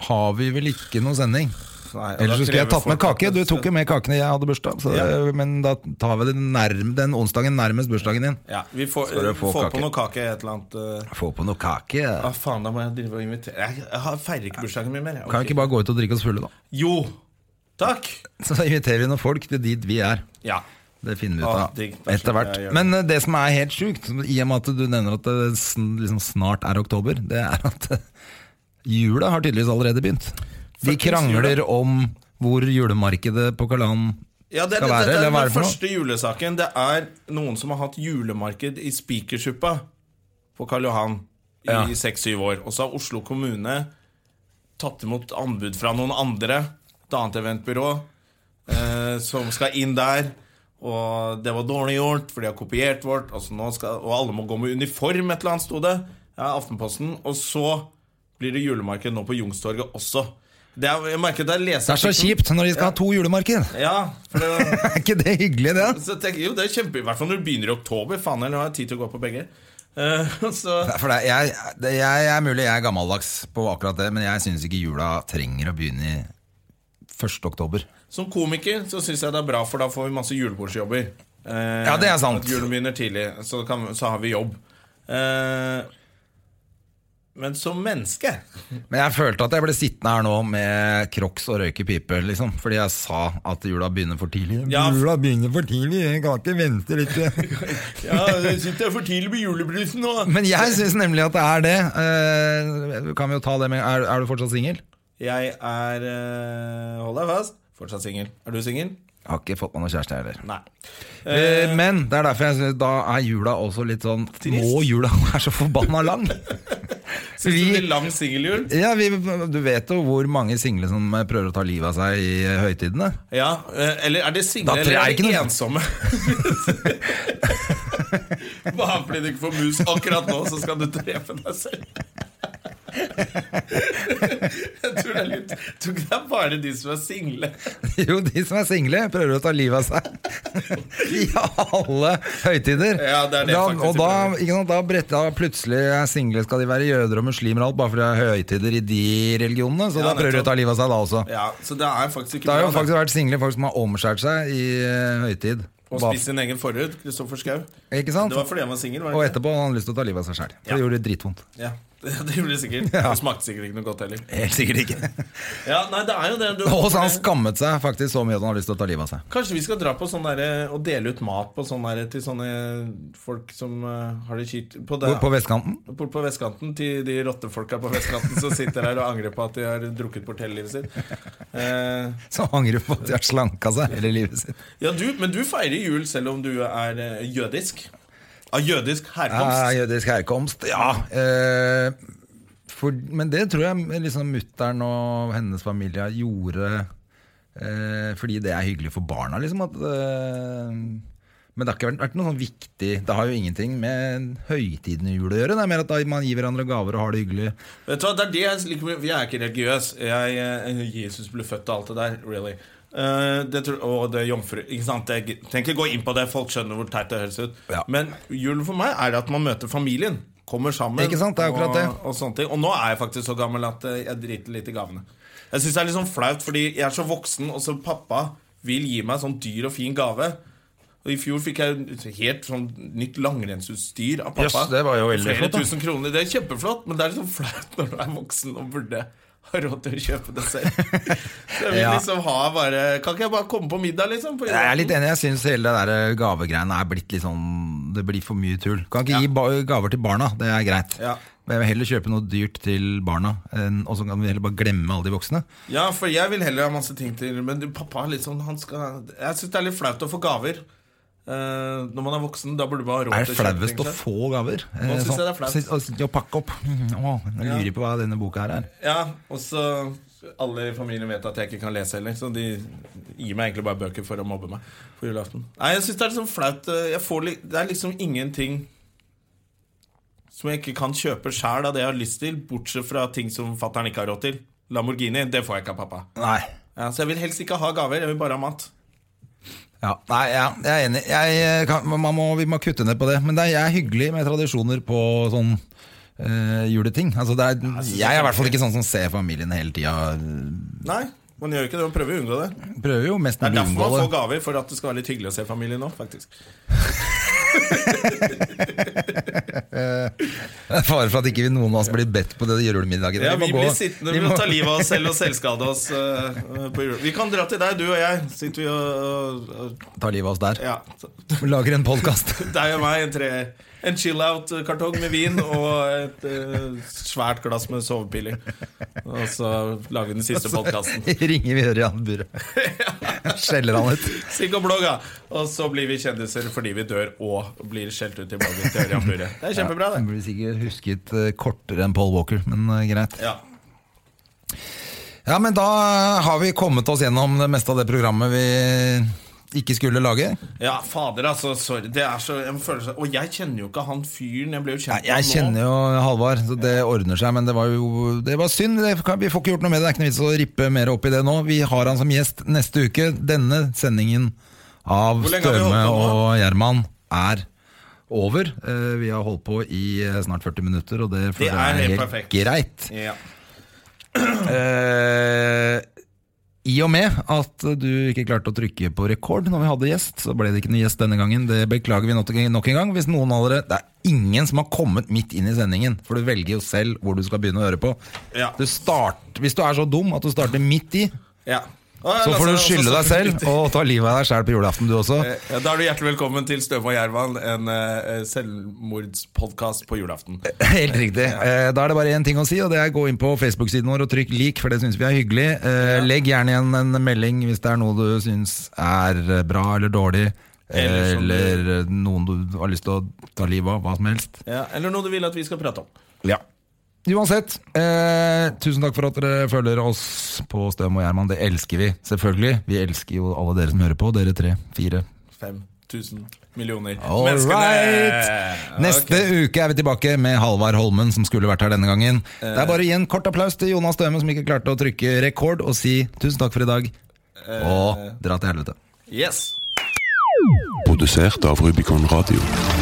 Speaker 2: har vi vel ikke noen sending.
Speaker 1: nei, og da
Speaker 2: Ellers så skulle jeg
Speaker 1: krever
Speaker 2: tatt med
Speaker 1: folk
Speaker 2: kake.
Speaker 1: at-
Speaker 2: Du tok jo med kakene jeg hadde bursdag, så,
Speaker 1: Ja.
Speaker 2: men da tar vi den, nærm, den onsdagen nærmest bursdagen din.
Speaker 1: Ja, vi får,
Speaker 2: Skal du få
Speaker 1: får
Speaker 2: kake?
Speaker 1: på noe kake et eller annet eh.
Speaker 2: Få på noe kake.
Speaker 1: Ah, faen, da må jeg drive og invitere Jeg, jeg har- feirer ikke bursdagen min mer. jeg.
Speaker 2: Kan vi
Speaker 1: Ok.
Speaker 2: ikke bare gå ut og drikke oss fulle, da?
Speaker 1: Jo! Takk!
Speaker 2: Så inviterer vi noen folk til dit vi er.
Speaker 1: Ja.
Speaker 2: Det finner vi
Speaker 1: Å,
Speaker 2: ut av
Speaker 1: digg. Da
Speaker 2: etter
Speaker 1: slipper
Speaker 2: hvert.
Speaker 1: jeg å gjøre
Speaker 2: Men eh, det som er helt sjukt, i og med at du nevner at det sn- liksom snart er oktober, det er at eh, jula har tydeligvis allerede begynt. De
Speaker 1: Fuckings
Speaker 2: krangler om hvor julemarkedet på Kalan
Speaker 1: Ja, det, er- det, det,
Speaker 2: skal være.
Speaker 1: det
Speaker 2: Eller
Speaker 1: er
Speaker 2: hva
Speaker 1: den
Speaker 2: er det for noe?
Speaker 1: første julesaken. Det er noen som har hatt julemarked i Spikersuppa på Karl Johan i
Speaker 2: Ja.
Speaker 1: seks-syv år. Og så har Oslo kommune tatt imot anbud fra noen andre, et annet eventbyrå, eh, som skal inn der. Og det var dårlig gjort, for de har kopiert vårt. Og, så nå skal, og alle må gå med uniform, et eller annet, sto det. Ja, Aftenposten. Og så blir det julemarked nå på Youngstorget også. Det er, jeg merker det er
Speaker 2: Det er så kjipt når de skal ha to julemarked!
Speaker 1: Ja, for det
Speaker 2: Er ikke det hyggelig, det?
Speaker 1: så jeg tenker, jo, det er kjempe, I hvert fall når du begynner i oktober. Faen, eller nå har jeg tid til å gå på begge. Eh, så,
Speaker 2: Nei, For det, jeg, det, jeg, jeg er mulig jeg er gammeldags på akkurat det, men jeg syns ikke jula trenger å begynne i 1. oktober.
Speaker 1: som komiker så syns jeg det er bra, for da får vi masse julebordsjobber. Eh,
Speaker 2: Ja, det er sant.
Speaker 1: At julen begynner tidlig, så, kan, så har vi jobb. Eh, men som menneske
Speaker 2: Men jeg følte at jeg ble sittende her nå med crocs og røyke pipe, liksom. Fordi jeg sa at jula begynner for tidlig.
Speaker 1: Ja.
Speaker 2: Jula begynner for tidlig, jeg kan ikke vente litt.
Speaker 1: Ja, jeg syns det er for tidlig med julebrusen nå.
Speaker 2: men jeg syns nemlig at det er det. Eh, kan vi jo ta det med Er, er du fortsatt singel?
Speaker 1: Jeg er eh, Hold deg fast. Fortsatt singel. Er du singel?
Speaker 2: Har ikke fått meg noen kjæreste, jeg heller.
Speaker 1: Nei.
Speaker 2: Eh, Men det er derfor jeg synes, da er jula også litt sånn Må jula være så forbanna lang?
Speaker 1: Syns du det blir lang singeljul?
Speaker 2: Ja, vi, Du vet jo hvor mange single som eh, prøver å ta livet av seg i eh, høytidene.
Speaker 1: Ja, eh, eller er det single
Speaker 2: Da
Speaker 1: eller
Speaker 2: tror
Speaker 1: er
Speaker 2: jeg
Speaker 1: det
Speaker 2: ikke noe-
Speaker 1: ensomme? Bare fordi du ikke får mus akkurat nå, så skal du drepe deg selv. Jeg tror det er litt jeg tror ikke det er bare de som er single.
Speaker 2: Jo, de som er single, prøver å ta livet av seg i alle høytider.
Speaker 1: Ja, det er det
Speaker 2: da,
Speaker 1: faktisk
Speaker 2: og da, ikke sant, da bretta plutselig er single, skal de være jøder og muslimer og alt, bare fordi det er høytider i de religionene. Så
Speaker 1: Ja,
Speaker 2: da prøver de
Speaker 1: nettopp.
Speaker 2: å ta livet av seg da også.
Speaker 1: Ja, Så det er faktisk ikke
Speaker 2: Det har jo
Speaker 1: bra.
Speaker 2: faktisk vært single folk som har omskjært seg i eh, høytid.
Speaker 1: Å
Speaker 2: Hva-
Speaker 1: spise sin egen forhud, Kristoffer Schau.
Speaker 2: Ikke sant?
Speaker 1: Det var fordi han var singel, var
Speaker 2: Og
Speaker 1: det ikke?
Speaker 2: etterpå hadde han lyst til å ta livet av seg sjæl.
Speaker 1: Ja.
Speaker 2: Det gjorde dritvondt.
Speaker 1: Ja, det gjorde det sikkert. Det smakte sikkert ikke noe godt heller.
Speaker 2: Helt sikkert ikke.
Speaker 1: Ja, nei, det er jo det. Du,
Speaker 2: Og så han skammet seg faktisk så mye at han har lyst til å ta livet av seg.
Speaker 1: Kanskje vi skal dra på sånn derre og dele ut mat på sånn derre til sånne folk som eh, har det kjipt på, det-
Speaker 2: På vestkanten?
Speaker 1: Bort på vestkanten til de rottefolka på vestkanten som sitter her og angrer på at de har drukket bort hele livet sitt. Eh,
Speaker 2: Som angrer på at de har slanka seg hele livet sitt.
Speaker 1: ja, du, men du feirer jul selv om du er eh, jødisk. Av jødisk
Speaker 2: Ja,
Speaker 1: herkomst.
Speaker 2: jødisk herkomst, ja. Eh, for, men det tror jeg liksom mutter'n og hennes familie gjorde eh, fordi det er hyggelig for barna, liksom. At, eh, men det har ikke vært, vært noe sånn viktig Det har jo ingenting med høytiden i jul å gjøre. Det er mer at da man gir hverandre gaver og har det hyggelig.
Speaker 1: Vet du hva, det er det jeg liker med Jeg er ikke religiøs. Jeg, eh, Jesus ble født og alt det der. Really. Eh, det tror, og det er jomfru. Ikke sant? Jeg trenger ikke gå inn på det, folk skjønner hvor teit det høres ut.
Speaker 2: Ja.
Speaker 1: Men julen for meg er at man møter familien. kommer sammen.
Speaker 2: Ikke sant, det er akkurat
Speaker 1: og,
Speaker 2: det.
Speaker 1: Og, sånne ting. og nå er jeg faktisk så gammel at eh, jeg driter litt i gavene. Jeg syns det er litt sånn flaut, fordi jeg er så voksen, og så pappa vil gi meg sånn dyr og fin gave. Og I fjor fikk jeg helt sånn nytt langrennsutstyr av pappa.
Speaker 3: Jøss, det var jo veldig
Speaker 1: Flere
Speaker 3: flott, da.
Speaker 1: tusen kroner. Det er kjempeflott, men det er litt sånn flaut når du er voksen og burde ha råd til å kjøpe det selv. Så jeg vil
Speaker 2: Ja.
Speaker 1: liksom ha bare Kan ikke jeg bare komme på middag, liksom? På
Speaker 2: Jeg er litt enig. Jeg syns hele det der eh, gavegreiene er blitt litt sånn Det blir for mye tull. Kan ikke gi ba gaver til barna. Det er greit.
Speaker 1: Ja.
Speaker 2: Men jeg vil heller kjøpe noe dyrt til barna, enn- og så kan vi heller bare glemme alle de voksne.
Speaker 1: Ja, for jeg vil heller ha masse ting til Men du, pappa er litt sånn han skal, Jeg synes det er litt flaut å få gaver Eh, Når man er voksen, da burde du bare ha
Speaker 2: Er
Speaker 1: råd
Speaker 2: det
Speaker 1: til å kjøpe ting
Speaker 2: flauest å
Speaker 1: selv.
Speaker 2: få gaver? Eh, sånn,
Speaker 1: Nå synes jeg det er flaut.
Speaker 2: flaut. Å pakke opp. Åh, jeg lurer på hva denne boka her er.
Speaker 1: Ja, og så Alle i familien vet at jeg ikke kan lese heller Så de gir meg egentlig bare bøker for å mobbe meg På julaften Nei, jeg synes det er litt sånn flaut eh, jeg får, li- Det er liksom ingenting Som jeg ikke kan kjøpe selv Av det jeg har lyst til Bortsett fra ting som fatteren ikke har råd til Lamborghini, det får jeg ikke av pappa
Speaker 2: Nei.
Speaker 1: ja, Så jeg vil helst ikke ha gaver, jeg vil bare ha mat
Speaker 2: Ja, nei, ja, jeg er enig. Jeg eh, kan, man må, vi må kutte ned på det. Men det er, jeg er hyggelig med tradisjoner på sånn eh, juleting. Altså, det er, jeg er i hvert fall ikke sånn som ser familien hele tida.
Speaker 1: Nei, man gjør ikke det, man prøver å unngå det
Speaker 2: Prøver jo mest
Speaker 1: Det er
Speaker 2: mulig å
Speaker 1: derfor man
Speaker 2: unngå
Speaker 1: får
Speaker 2: det.
Speaker 1: gaver, for at det skal være litt hyggelig å se familien nå, faktisk.
Speaker 2: Det er fare for at ikke vi noen av oss blir bedt på det julemiddagen.
Speaker 1: Ja,
Speaker 2: må
Speaker 1: vi
Speaker 2: gå-
Speaker 1: blir sittende, vi
Speaker 2: vi
Speaker 1: må
Speaker 2: må-
Speaker 1: ta livet av oss selv og selvskade oss. eh, på jul. Vi kan dra til deg, du og jeg. Sitter vi og og-
Speaker 2: Ta livet av oss der.
Speaker 1: Ja.
Speaker 2: Lager en podkast.
Speaker 1: Deg og meg, en, tre, en chill-out-kartong med vin og et eh, svært glass med sovepiller. Og så lager vi den siste
Speaker 2: Altså-
Speaker 1: podkasten.
Speaker 2: Ringer vi Ørjan Burre. Skjeller han ut.
Speaker 1: Sigg og blogg, ja. Og så blir vi kjendiser fordi vi dør og blir skjelt ut i bloggen til Ørjan Burre. Det er kjempebra,
Speaker 2: Han
Speaker 1: det.
Speaker 2: blir sikkert husket eh, kortere enn Paul Walker, men eh, greit.
Speaker 1: Ja.
Speaker 2: Ja, men da eh, har vi kommet oss gjennom det meste av det programmet vi ikke skulle lage.
Speaker 1: Ja, fader, altså. Sorry. Det er så, jeg føler så, og jeg kjenner jo ikke han fyren. Jeg ble jo
Speaker 2: Nei,
Speaker 1: kjent
Speaker 2: jeg kjenner jo Halvard, så det ordner seg, men det var jo det var synd. Det kan, vi får ikke gjort noe med det. Det er ikke noe vits å rippe mer opp i det nå. Vi har han som gjest neste uke. Denne sendingen av
Speaker 1: Hvor lenge har vi
Speaker 2: Støme
Speaker 1: holdt på nå?
Speaker 2: og Gjerman er over. Eh, Vi har holdt på i eh, snart 40 minutter, og det føler
Speaker 1: er
Speaker 2: jeg
Speaker 1: helt
Speaker 2: er
Speaker 1: perfekt.
Speaker 2: helt greit.
Speaker 1: Ja.
Speaker 2: Eh, I og med at du ikke klarte å trykke på rekord når vi hadde gjest, så ble det ikke noe gjest denne gangen. Det beklager vi nok nok en gang. Hvis noen av dere Det er ingen som har kommet midt inn i sendingen, for du velger jo selv hvor du skal begynne å høre på.
Speaker 1: Ja.
Speaker 2: Du start, hvis du er så dum at du starter midt i,
Speaker 1: ja. Å, jeg
Speaker 2: så får
Speaker 1: laster
Speaker 2: du
Speaker 1: også
Speaker 2: skylde deg
Speaker 1: sånn-
Speaker 2: selv og ta livet av deg sjæl på julaften, du også.
Speaker 1: Eh, Ja, da er du hjertelig velkommen til Støme og Gjerman, en uh, selvmordspodkast på julaften.
Speaker 2: Helt riktig. Eh, Da er det bare én ting å si, og det er gå inn på Facebook-siden vår og trykk lik, for det syns vi er hyggelig. Eh, Legg gjerne igjen en melding hvis det er noe du syns er eh, bra eller dårlig,
Speaker 1: Eller
Speaker 2: eller,
Speaker 1: som du-
Speaker 2: eh, noen du har lyst til å ta livet av, hva som helst.
Speaker 1: Ja, eller noe du vil at vi skal prate om.
Speaker 2: Uansett, eh, tusen takk for at dere følger oss på Støm og Gjerman. Det elsker vi, selvfølgelig. Vi elsker jo alle dere som hører på, dere tre, fire.
Speaker 1: 5000 millioner
Speaker 2: All right. Neste
Speaker 1: Ok.
Speaker 2: uke er vi tilbake med Halvard Holmen, som skulle vært her denne gangen. Det er bare å gi en kort applaus til Jonas Døme, som ikke klarte å trykke rekord, og si tusen takk for i dag, og dra til helvete.
Speaker 1: Yes.
Speaker 4: Produsert av Rubicon Radio.